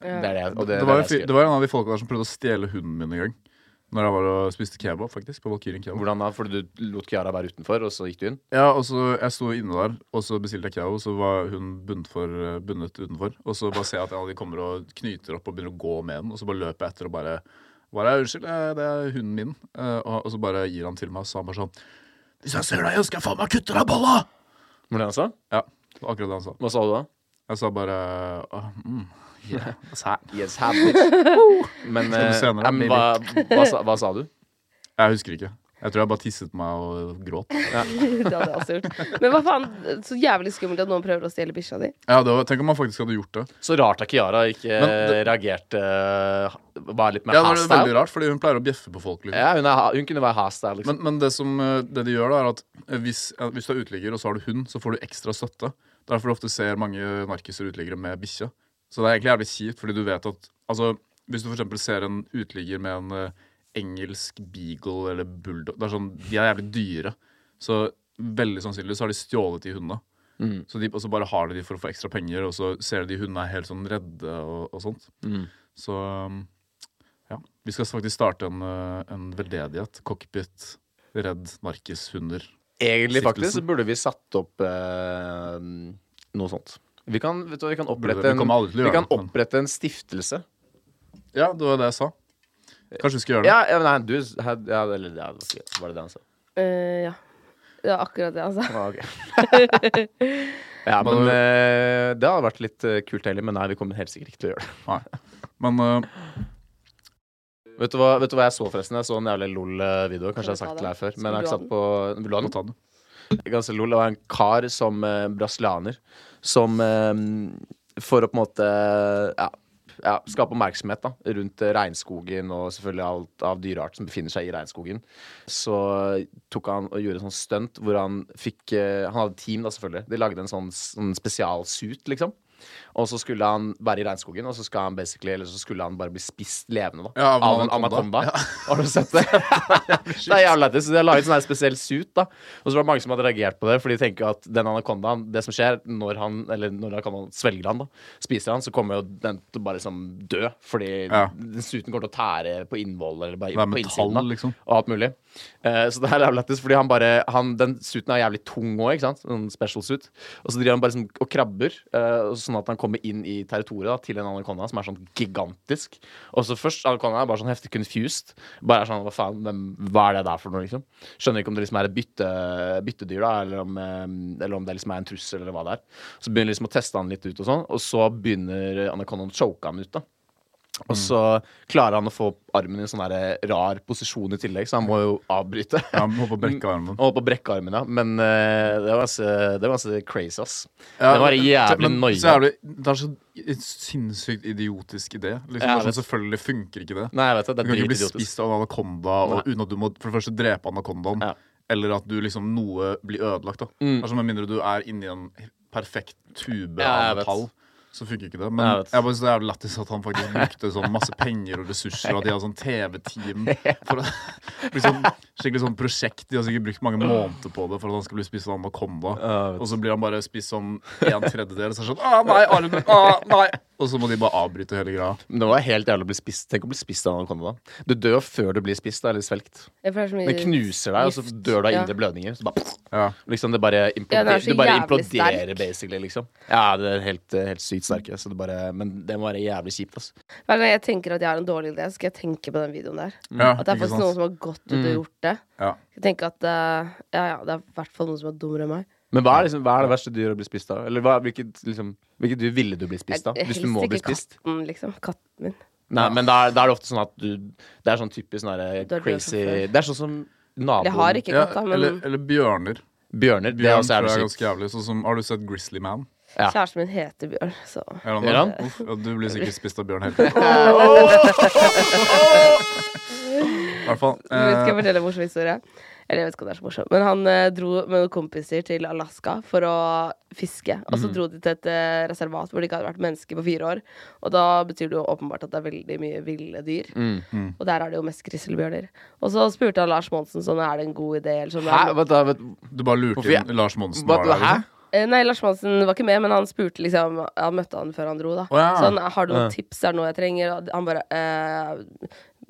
S2: Ja.
S3: Det er det, jeg-
S1: Det,
S3: og det, det, er
S1: var, jo
S3: det
S1: fi-
S3: jeg
S1: det
S3: skriver.
S1: var en av de folka der som prøvde å stjele hunden min en gang. Når jeg var og spiste kebab, faktisk. På Valkyrien kebab.
S3: Hvordan da? Fordi du lot Kiara være utenfor, og så gikk du inn?
S1: Ja, og så Jeg sto inne der, og så bestilte jeg kebab, og så var hun bundet, for, bundet utenfor. Og så bare ser jeg at alle de kommer og knyter opp og begynner å gå med den, og så bare løper jeg etter og bare bare, 'Unnskyld, eh, det er hunden min.' Eh, Og, og så bare gir han til meg, og så han bare sånn 'Hvis jeg ser deg igjen, skal jeg faen meg kutte deg i balla!'
S3: Hvordan sa
S1: Ja, det var akkurat det han sa.
S3: Hva sa du da?
S1: Jeg sa bare «Åh, mm, yeah, that's hot».
S3: Yes, habits.
S1: Skal
S3: men
S1: du
S3: eh,
S1: se henne da,
S3: ja, men hva, hva, sa, hva sa du?
S1: Jeg husker ikke. Jeg tror jeg bare tisset på meg og gråt.
S2: det hadde jeg også gjort. Men hva faen, så jævlig skummelt at noen prøver å stjele bikkja di.
S1: Ja, det var, Tenk om han faktisk hadde gjort det.
S3: Så rart at Kiara ikke
S1: Men det-
S3: reagerte eh, Var litt mer
S1: Ja, det var veldig
S3: hostile.
S1: rart, fordi hun pleier å bjeffe på folk. liksom
S3: Ja, hun, er, hun kunne være hostile, liksom.
S1: Men, men det, som, eh, det de gjør, da er at eh, hvis, eh, hvis du er uteligger og så har du hund, så får du ekstra støtte. Derfor du ofte ser mange narkiser og uteliggere med bikkje. Så det er egentlig jævlig kjipt, fordi du vet at altså, Hvis du f.eks. ser en uteligger med en eh, engelsk beagle eller bulldog det er sånn, De er jævlig dyre. Så veldig sannsynlig så har de stjålet de hundene.
S3: Mm,
S1: Så de, og så bare har de de for å få ekstra penger, og så ser du de hundene er helt sånn redde og, og sånt.
S3: mm.
S1: Så um, ja. Vi skal faktisk starte en, eh, en veldedighet. Cockpit, redd narkishunder.
S3: Egentlig faktisk
S1: Stiftelsen.
S3: så burde vi satt opp eh, noe sånt. Vi kan, vet du, hva, vi kan
S1: Burde det?
S3: opprette
S1: Vi
S3: en,
S1: kommer aldri til å
S3: vi
S1: gjøre
S3: kan
S1: det, men-
S3: opprette en stiftelse.
S1: Ja, det var det jeg sa. Kanskje vi skal gjøre det?
S3: Ja, ja, nei, du had- ja, Eller ja, det var ikke- var det det han sa?
S2: Eh, ja. Det var akkurat det, altså.
S3: Ah, ok. ja, men
S1: Bare-
S3: eh, det hadde vært litt eh, kult heller, men nei, vi kommer helt sikkert ikke til å gjøre det.
S1: Nei. Men eh,
S3: Vet du, hva, vet du hva jeg så, forresten? Jeg så en jævlig LOL-video. Kanskje
S2: Skal
S3: jeg har
S2: du
S3: sagt det
S2: ta
S3: her før.
S2: det?
S3: Men jeg har ikke
S2: Skal
S3: satt på Vil du ha
S1: Gå
S3: den?
S1: og ta den.
S3: ganske lol. Det var en kar som eh, brasilianer som eh, for å på en måte ja, ja, skape oppmerksomhet da, rundt eh, regnskogen og selvfølgelig alt av dyreart som befinner seg i regnskogen, så tok han og gjorde et sånt stunt hvor han fikk eh, Han hadde et team, da, selvfølgelig. De lagde en sånn, sånn spesialsuit, liksom. Og så skulle han være i regnskogen, og så, skal han basically, eller så skulle han bare bli spist levende da,
S1: Ja, av
S3: av en
S1: anakonda.
S3: anakonda. Har du sett det? Det er jævlig lættis. De har laget sånn her spesiell suit, da. Og så var det mange som hadde reagert på det, for de tenker jo at den anakondaen Det som skjer når han Eller når anakondaen svelger han, da, spiser han, så kommer jo den til å bare liksom dø. Fordi
S1: Ja.
S3: den suiten kommer til å tære på innvollet eller
S1: Det
S3: bare
S1: er
S3: på
S1: metall,
S3: innsiden. da,
S1: liksom.
S3: Og alt mulig. Eh, så det her er jævlig lættis, fordi han bare han, Den suiten er jævlig tung òg, ikke sant? Sånn special suit. Og så driver han bare sånn og krabber, eh, og sånn at han kommer inn i territoriet da, til en anakonda som er sånn gigantisk. Og så først Anaconda er bare sånn heftig confused. Bare er sånn, hva faen, hvem, hva er det der for noe, liksom? Skjønner ikke om det liksom er et bytte, byttedyr, da, eller om, eh, eller om det liksom er en trussel, eller hva det er. Så begynner de liksom å teste han litt ut og sånn, og så begynner Anacondaen å choke han ut, da. Og så klarer han å få armen i en sånn der rar posisjon i tillegg, så han må jo avbryte.
S1: Ja, han holdt på å brekke armen.
S3: Han holdt på Mm. å brekke armen, ja. Men eh, det var ganske det var ganske crazy, ass.
S1: Ja,
S3: det var jævlig
S1: men-
S3: noia.
S1: så er det- Det er så i- sinnssykt idiotisk idé. Liksom,
S3: Ja,
S1: det er
S3: jeg
S1: sånn, selvfølgelig funker ikke det.
S3: Nei, jeg vet
S1: Du
S3: det. Det
S1: kan
S3: er
S1: ikke bli
S3: dritidiotisk.
S1: spist av en anakonda og, uten at du må for det første drepe anakondaen.
S3: Ja. Mm.
S1: Eller at du liksom noe blir ødelagt. da Altså, Med mindre du er inni en perfekt tube
S3: Ja,
S1: av
S3: jeg vet.
S1: metall. Så funker ikke det. Men jeg
S3: Jeg vet.
S1: bare synes det er jævlig lættis at han faktisk brukte sånn masse penger og ressurser, og at de har sånn TV-team for å liksom, Skikkelig sånn prosjekt. De har sikkert brukt mange måneder på det for at han skal bli spist av anakonda.
S3: Ja, jeg vet.
S1: Og så blir han bare spist som en tredjedel, så er det sånn Å, nei, armen! Å, nei! Og så må de bare avbryte hele greia.
S3: Men det var helt jævlig å bli spist. Tenk å bli spist av en anakonda. Du dør jo før du blir spist, da, eller svelgt.
S2: Jeg føler så mye
S3: Den knuser deg, og så
S2: Eh, gift.
S3: dør du av
S2: Ja.
S3: indre blødninger. Så bare,
S1: Ja.
S3: liksom det bare
S2: Ja, den er
S3: imploderer.
S2: så
S3: Du bare
S2: jævlig
S3: imploderer,
S2: sterk.
S3: basically, liksom. Ja, det er helt, eh, helt sykt sterke. Så det bare, men det må være jævlig kjipt, ass.
S2: Hver gang jeg tenker at jeg har en dårlig idé, skal jeg tenke på den videoen der.
S1: Ja,
S2: At det er
S1: ikke
S2: faktisk
S1: sant?
S2: noen som har gått
S3: Mm.
S2: ut og gjort det.
S1: Ja.
S2: Jeg tenker at eh, ja, ja, det er i hvert fall noen som er dummere enn meg.
S3: Men hva er, liksom, hva er det verste dyret å bli spist av? Eller hva, hvilket, liksom, hvilket dyr ville du bli spist av?
S2: Jeg-
S3: Hvis du
S2: helst
S3: må bli
S2: ikke
S3: spist?
S2: Katten, liksom. Katten min.
S3: Nei, men da er, da er det ofte sånn at du Det er sånn typisk sånn der
S2: Du har dødd
S3: crazy
S2: før.
S3: Det er sånn som
S2: Jeg har
S3: naboen
S2: ikke
S1: Ja,
S2: katt, da, men
S1: eller, eller bjørner.
S3: Bjørner. det
S1: Bjørn
S3: er også
S1: tror jeg er
S3: jævlig sykt.
S1: ganske jævlig. Sånn som, har du sett Grizzly Man?
S3: ja.
S2: kjæresten min heter Bjørn, så
S1: Gjør
S3: Gjør han?
S1: det? Uff, ja, du blir sikkert spist av bjørn Oh! hele tiden.
S2: Oh!
S1: I hvert fall.
S2: Men Skal jeg
S1: Eh,
S2: fortelle en morsom historie? Eller jeg vet ikke om det er så morsomt, men han eh, dro med noen kompiser til Alaska for å fiske. Og så dro de til et eh, reservat hvor det ikke hadde vært mennesker på fire år. Og da betyr det jo åpenbart at det er veldig mye ville dyr. Og der er det jo mest grizzlybjørner. Og så spurte han Lars Monsen sånn, er det en god idé, eller sånn.
S3: Hæ? Vent, da, vent,
S1: du bare lurte
S3: Hvorfor jeg-
S1: inn Lars Monsen.
S3: hva,
S1: var der,
S3: hæ?
S1: liksom.
S2: Eh, Nei, Lars Monsen var ikke med, men han spurte liksom Han møtte han før han dro, da.
S1: Å, ja.
S2: Sånn, har du noen tips? Er det noe jeg trenger? Og han bare eh,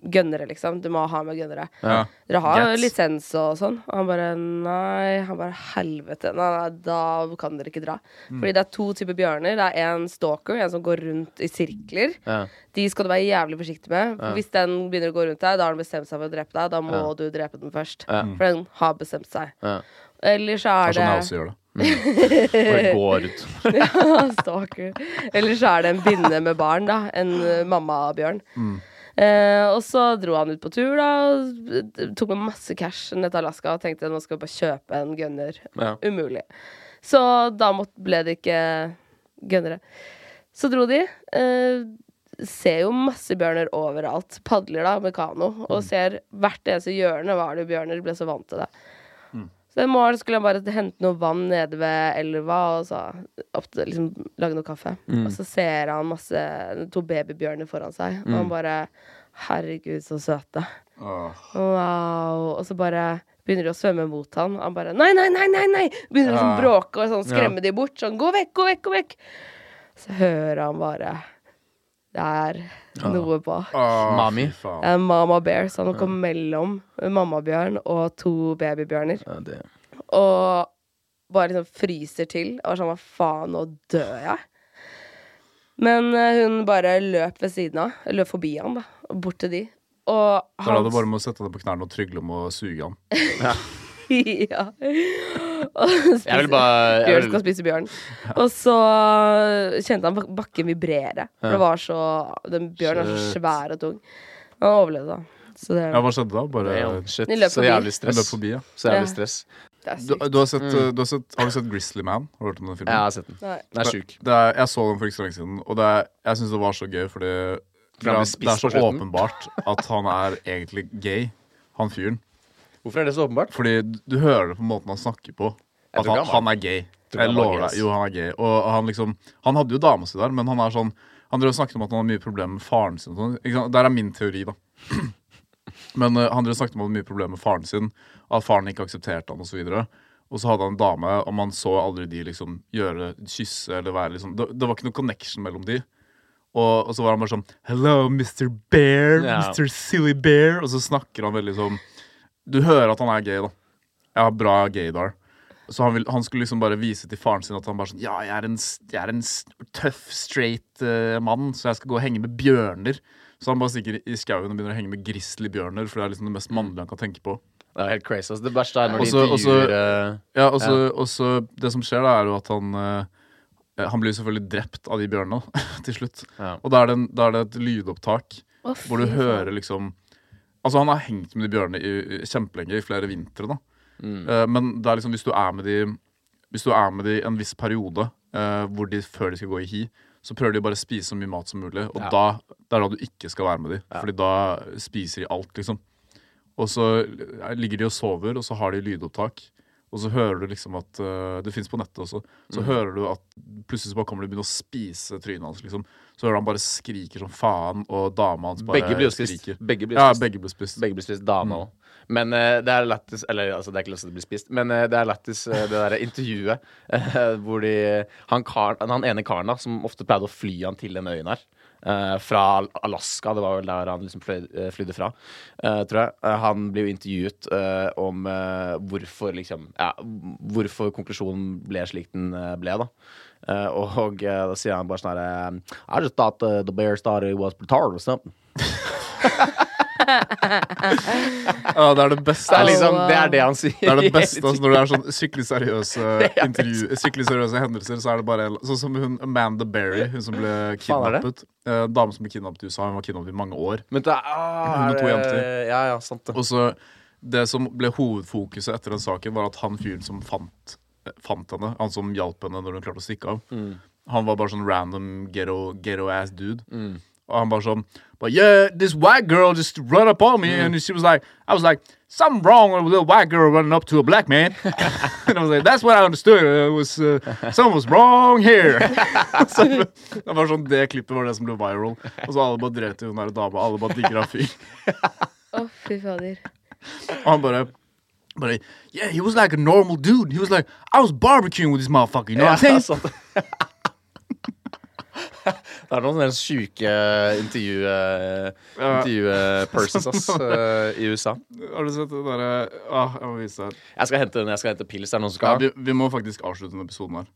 S2: Gønnere, liksom. Du må ha med gønnere.
S1: Ja.
S2: Dere har jo
S1: Gets.
S2: lisens og sånn. Og han bare nei. Han bare helvete. Nei, nei, da kan dere ikke dra.
S1: Mm.
S2: Fordi det er to typer bjørner. Det er en stalker, en som går rundt i sirkler.
S3: Ja.
S2: De skal du være jævlig forsiktig med. For Hvis den begynner å gå rundt deg, da har den bestemt seg for å drepe deg. Da må
S3: Ja.
S2: du drepe den først.
S3: Ja.
S2: For den har bestemt seg.
S3: Ja.
S2: Eller så
S1: Det
S2: er
S1: er sånn jeg
S2: det
S1: også gjør det.
S3: Bare går ut.
S2: Ja, Stalker. Eller så er det en binne med barn, da. En eh, mammabjørn. Eh, og så dro han ut på tur, da. Og d- tok med masse cash ned til Alaska og tenkte nå skal vi bare kjøpe en gunner.
S3: Ja.
S2: Umulig. Så da måtte, ble det ikke gunnere. Så dro de. Eh, ser jo masse bjørner overalt. Padler da med kano og ser hvert eneste hjørne var det jo bjørner. Ble så vant til det. Så en morgen skulle han bare hente noe vann nede ved elva og så opp til, liksom, lage noe kaffe. Og så ser han masse, to babybjørner foran seg, og han bare Herregud, så søte.
S1: Åh.
S2: Wow. Og så bare begynner de å svømme mot han. Han bare Nei, nei, nei! nei, nei Begynner å sånn
S1: Ja.
S2: bråke og sånn,
S3: Ja.
S2: skremme de bort. Sånn Gå vekk, gå vekk, gå vekk! Så hører han bare Det er noe bak.
S1: Åh,
S3: Mami.
S1: fy faen.
S2: Det er Mama Bear, så han kom mellom mammabjørn og to babybjørner.
S3: Ja, det.
S2: Og bare liksom fryser til. Og er sånn Hva faen, nå dør jeg. Men eh, hun bare løp ved siden av. Løp forbi han, da. og Bort til de. Og
S1: Da er
S2: han
S1: det bare med å sette deg på knærne og trygle om å suge han.
S2: ja. Og spise-
S3: Jeg vil bare jeg
S2: Bjørn
S3: vil,
S2: skal spise bjørn. Og så kjente han bak- bakken vibrere. For det var så Den bjørnen er så
S1: Shit.
S2: svær og tung. Han overlevde, da. Så det,
S1: Ja, hva skjedde da? Bare
S3: Shit,
S2: De løp
S3: så
S2: forbi.
S3: jævlig
S1: jeg løp
S3: stress.
S1: forbi, ja.
S3: Så jævlig
S2: Ja.
S3: stress.
S2: det er
S1: Du,
S2: sykt.
S1: du har, sett,
S3: Mm.
S1: uh, du har, sett, har du sett Grizzly Man? Har du hørt om den filmen?
S3: Ja, jeg har sett den.
S2: Nei.
S3: Den er sjuk.
S1: Det er, jeg så den for ikke så lenge siden, og det er, jeg syns det var så gøy fordi det er,
S3: han ble
S1: det er
S3: spist
S1: så
S3: på slutten.
S1: åpenbart at han er egentlig gay, han fyren.
S3: Hvorfor er det så åpenbart?
S1: Fordi du- du hører det på måten han snakker på.
S3: Jeg
S1: At
S3: tror
S1: han,
S3: ikke han
S1: han er gay.
S3: tror ikke
S1: Jeg
S3: han var
S1: lover
S3: gay,
S1: deg.
S3: ass.
S1: Jo, han er gay. Og han liksom Han hadde jo dama si der, men han er sånn Han drev og snakket om at han hadde mye problemer med faren sin. og Sånn. Ikke sant? Der er min teori, da. Men eh, han drev og snakket om at han hadde mye problemer med faren sin, at faren ikke aksepterte han osv. Og så hadde han en dame, og man så aldri de liksom gjøre kysse eller være liksom Det, det var ikke noe connection mellom de. Og, og så var han bare sånn Hello, Mr. Bear.
S3: Ja.
S1: Mr. Silly Bear. Og så snakker han veldig sånn Du hører at han er gay, da. Jeg har bra gaydar. Så han, vil, han skulle liksom bare vise til faren sin at han bare sånn Ja, jeg er en, s- jeg er en s- tøff, straight eh, mann, så jeg skal gå og henge med bjørner. Så han bare stikker i skauen og begynner å henge med grizzlybjørner, for det er liksom det mest mannlige han kan tenke på.
S3: Det er helt crazy. Altså, det verste er når
S1: Også-
S3: de intervjuer eh,
S1: Ja, og så, og så Det som skjer, da, er jo at han eh, Han blir selvfølgelig drept av de bjørnene til slutt.
S3: Ja.
S1: Og da er, det en, da er det et lydopptak
S2: Å,
S1: hvor du
S2: fy faen.
S1: hører liksom Altså, han har hengt med de bjørnene i, i, kjempelenge, i flere vintre, da. Eh, men det er liksom hvis du er med de Hvis du er med de en viss periode eh, hvor de før de skal gå i hi, så prøver de bare å spise så mye mat som mulig. Og
S3: Ja.
S1: da det er da du ikke skal være med de, Fordi da spiser de alt, liksom. Og så ligger de og sover, og så har de lydopptak. Og så hører du liksom at eh, Det fins på nettet også.
S3: Mm.
S1: Så hører du at plutselig så bare kommer de og begynner å spise trynet hans. liksom Så hører du han bare skriker som faen, og dama hans bare
S3: Begge blir jo spist.
S1: skriker.
S3: Begge blir
S1: Ja,
S3: spist.
S1: begge ble spist.
S3: Begge blir spist
S1: Mm.
S3: dame òg. Men eh, det er lættis Eller altså, det er ikke lov til å bli spist, men eh, det er lættis eh, det derre intervjuet eh, hvor de han, karen- han ene karen da, som ofte pleide å fly han til den øyen her, eh, fra Al- Alaska, det var vel der han liksom fløy, eh, flydde fra, eh, tror jeg. Eh, han blir jo intervjuet eh, om eh, hvorfor liksom ja, Hvorfor konklusjonen ble slik den eh, ble, da. Eh, og eh, da sier han bare sånn her I just thought eh, the bear started was retarded or something.
S1: Ja, det er det beste.
S3: Det er
S1: ass.
S3: liksom, det er det han sier.
S1: Det er det
S3: hele
S1: beste
S3: tiden.
S1: altså, når det er sånn skikkelig seriøse
S3: Det er
S1: intervju, Skikkelig seriøse hendelser. Så er det bare en- Sånn som hun Amanda Berry, hun som ble
S3: Faen, er
S1: kidnappet. Eh, dame som ble kidnappet i USA. Hun var kidnappet i mange år.
S3: Men det er ah,
S1: Hun med to
S3: er det-
S1: jenter.
S3: Ja, ja, sant det.
S1: Og så Det som ble hovedfokuset etter den saken, var at han fyren som fant, eh, fant henne, han som hjalp henne når hun klarte å stikke av, han var bare sånn random ghetto, ghetto ass dude. Og han bare sånn But yeah, this white girl just run up on me, and she was like I was like Something wrong with a little white girl running up to a black man. and I was like, that's what I understood. It was, uh, something was wrong here. så, det var sånn, det klippet var det som ble viral. Og så alle bare drev til hun der dama. Alle bare digger av fyren.
S2: Å, fy fader.
S1: Og han bare bare, Yeah, he was like a normal dude. He was like, I was barbecuing with this motherfucker. You know
S3: Ja,
S1: what I'm saying?
S3: sant det. Det er noen helt sjuke intervju, eh,
S1: Ja.
S3: intervju-persons ass, eh, i USA.
S1: Har du sett det derre ah, Jeg må vise deg.
S3: Jeg skal hente den, jeg skal hente pils. Er det noen som
S1: Ja,
S3: skal ha?
S1: vi, vi må faktisk avslutte denne episoden her.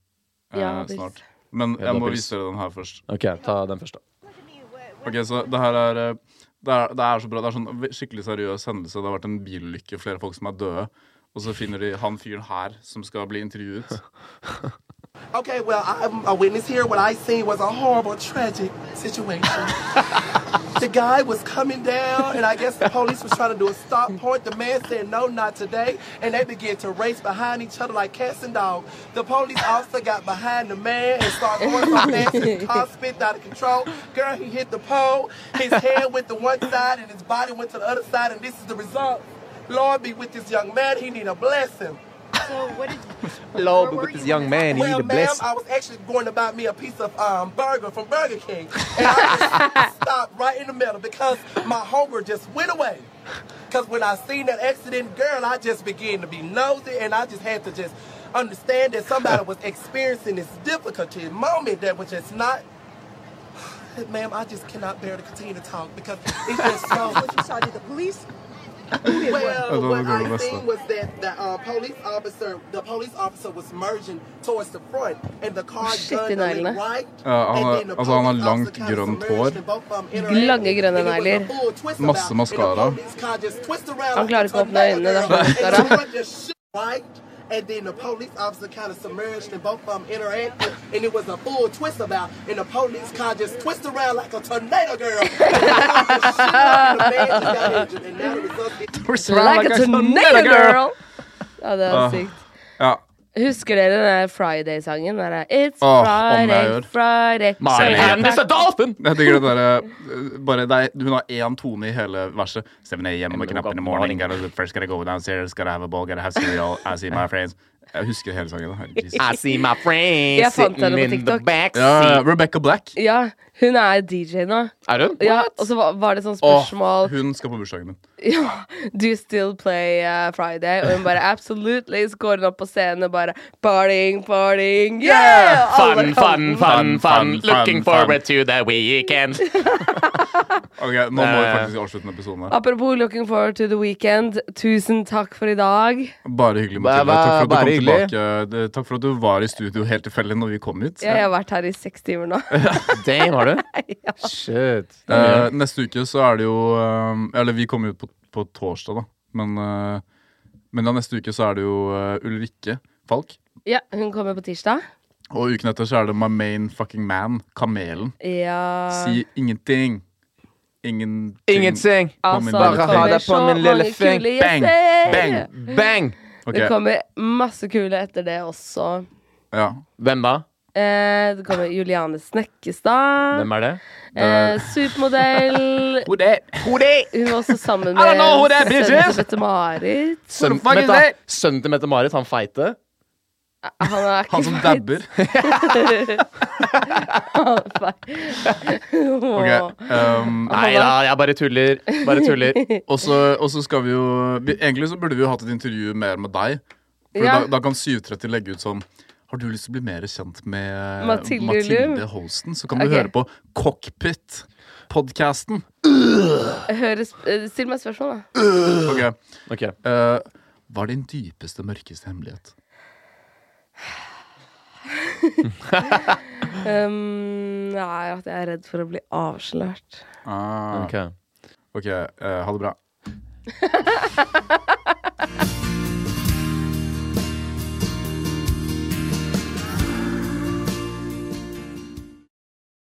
S1: Eh,
S2: Ja, pils.
S1: snart. Men
S3: da,
S1: jeg må
S3: pils.
S1: vise dere den her først.
S3: Ok, ta den først, da.
S1: Ok, så Det her er eh, det er, det er så bra. Det er sånn ve- skikkelig seriøs hendelse. Det har vært en bilulykke, flere folk som er døde. Og så finner de han fyren her som skal bli intervjuet.
S4: Okay, well, I'm a witness here. What I seen was a horrible, tragic situation. the guy was coming down, and I guess the police was trying to do a stop point. The man said, No, not today. And they began to race behind each other like cats and dogs. The police officer got behind the man and started going so fast his car spit out of control. Girl, he hit the pole. His head went to one side, and his body went to the other side, and this is the result. Lord be with this young man. He need a blessing.
S5: So what did?
S3: Hello,
S5: where
S3: but
S5: were
S3: with
S5: you
S3: this
S5: when
S3: young
S5: this
S3: man, he need
S4: Well,
S3: a
S4: ma'am,
S3: bless.
S4: I was actually going to buy me a piece of um, burger from Burger King, and I just stopped right in the middle because my hunger just went away. Because when I seen that accident, girl, I just began to be nosy, and I just had to just understand that somebody was experiencing this difficulty moment that was just not. Ma'am, I just cannot bear to continue to talk because it's just so.
S5: What you saw? Did the police? Who did what?
S1: I
S4: Well,
S1: don't
S4: what
S1: know the
S4: I
S1: rest
S4: seen
S1: of it.
S4: was that the uh, police officer, the police officer was merging towards the front, and the car
S2: Shit
S4: gunned
S2: i
S4: the
S2: neglene.
S4: link right.
S1: Ja, han har-
S4: and then the
S1: altså, han har
S4: police
S1: langt
S4: officer kinda
S1: grønt
S4: submerged
S1: hår.
S4: and both of them interacted.
S2: Lange grønne
S4: And it was a
S2: negler.
S4: full twist
S1: Masse
S4: about, and the
S1: mascara.
S4: police car just twist around
S2: Han klarer
S4: like a
S2: ikke å åpne øynene, det er
S4: tornado,
S2: mascara.
S4: and the front just shit right And then the police officer kind of submerged and both of them interacted. And it was a full twist about. And the police car just twisted around like a tornado girl. and, the shit out of the man that got injured. and now the result is
S2: Like a tornado girl! Ja, det var
S1: Ah.
S2: sykt.
S1: Ja.
S2: Husker dere den der Friday-sangen? Den der, It's
S1: Åh, om jeg
S2: Friday,
S1: gjør.
S2: Friday
S3: My
S2: Say
S3: hand
S2: that
S3: is a dolphin!
S1: Jeg tenker det derre Bare det er, Hun har én tone i hele verset. 7 a.m. waking up in the morning. Gotta, first gotta go downstairs. Gotta have a ball. Gotta have cereal. I see my friends. Jeg husker hele sangen. da. Jesus.
S3: I see my
S2: Jeg
S3: friends
S2: fant
S3: sitting
S2: henne på
S3: in the
S2: TikTok.
S3: backseat.
S1: Ja, Rebecca Black.
S2: Ja, hun er DJ nå.
S3: Er hun?
S2: Ja, og så var- var det sånn
S1: Åh,
S2: spørsmål
S1: hun skal på bursdagen min.
S2: ja, Do you still play uh, Friday? Og hun bare absolutely. Så går hun opp på scenen og bare partying, partying, yeah!
S3: Fun,
S2: Alle kan
S3: fun,
S2: den.
S3: fun, fun.
S1: fun,
S3: Looking
S1: fun, fun.
S3: forward to the weekend.
S1: Ok, Nå må vi
S3: Eh.
S1: faktisk avslutte denne episoden. her
S2: Apropos looking forward to the weekend. Tusen takk for i dag.
S1: Bare hyggelig, Mathilde.
S3: Bare-
S1: Takk for at du
S3: bare
S1: kom
S3: hyggelig.
S1: tilbake. Det- Takk for at du var i studio helt tilfeldig når vi kom hit.
S2: Jeg har vært her i seks timer nå.
S3: Damn, har du?
S2: Ja.
S3: Shit.
S1: Eh, neste uke så er det jo eh, Eller vi kommer jo ut på, på torsdag, da. Men, eh, men ja, neste uke så er det jo eh, Ulrikke Falk.
S2: Ja, hun kommer på tirsdag.
S1: Og uken etter så er det My Main Fucking Man, Kamelen.
S2: Ja
S1: Si ingenting. Ingenting.
S3: Ingenting.
S1: min lille fing.
S2: Altså, det
S1: Bare
S3: ha
S2: kommer
S3: deg på
S2: så
S3: min lille
S2: mange
S3: fing.
S2: kule
S1: Bang,
S2: gjester.
S1: bang.
S3: Bang!
S1: Ok,
S2: Det kommer masse kule etter det også.
S1: ja.
S3: Hvem da?
S2: Eh, det kommer Juliane Snekkestad.
S3: Hvem er det?
S2: Eh, supermodell.
S1: Who that? Who that?
S2: Hun var også sammen
S1: don't know who
S2: med
S1: that bitch
S2: sønnen
S1: is.
S2: til Mette-Marit.
S3: Sønnen
S1: fuck is
S3: vent da.
S1: that?
S3: Sønnen til Mette-Marit, han feite?
S2: Han er ikke
S1: Han som dabber.
S2: Åh.
S1: Ok, um,
S3: Nei da, jeg bare tuller. Bare tuller.
S1: og, så, og så skal vi jo vi, Egentlig så burde vi jo hatt et intervju mer med deg. For
S2: Ja.
S1: da, da kan 730 legge ut sånn Har du lyst til å bli mer kjent med eh,
S2: Mathilde
S1: Mathilde
S2: Ullum?»
S1: Holsten? Så kan du
S2: Ok.
S1: høre på Cockpit-podkasten.
S2: Høres, eh, still meg et spørsmål, da.
S1: Ok,
S3: Ok.
S1: eh, hva er din dypeste, mørkeste hemmelighet?
S2: Um, nei, at jeg er redd for å bli avslørt.
S1: Ah,
S3: Ok.
S1: ok, eh, ha det bra.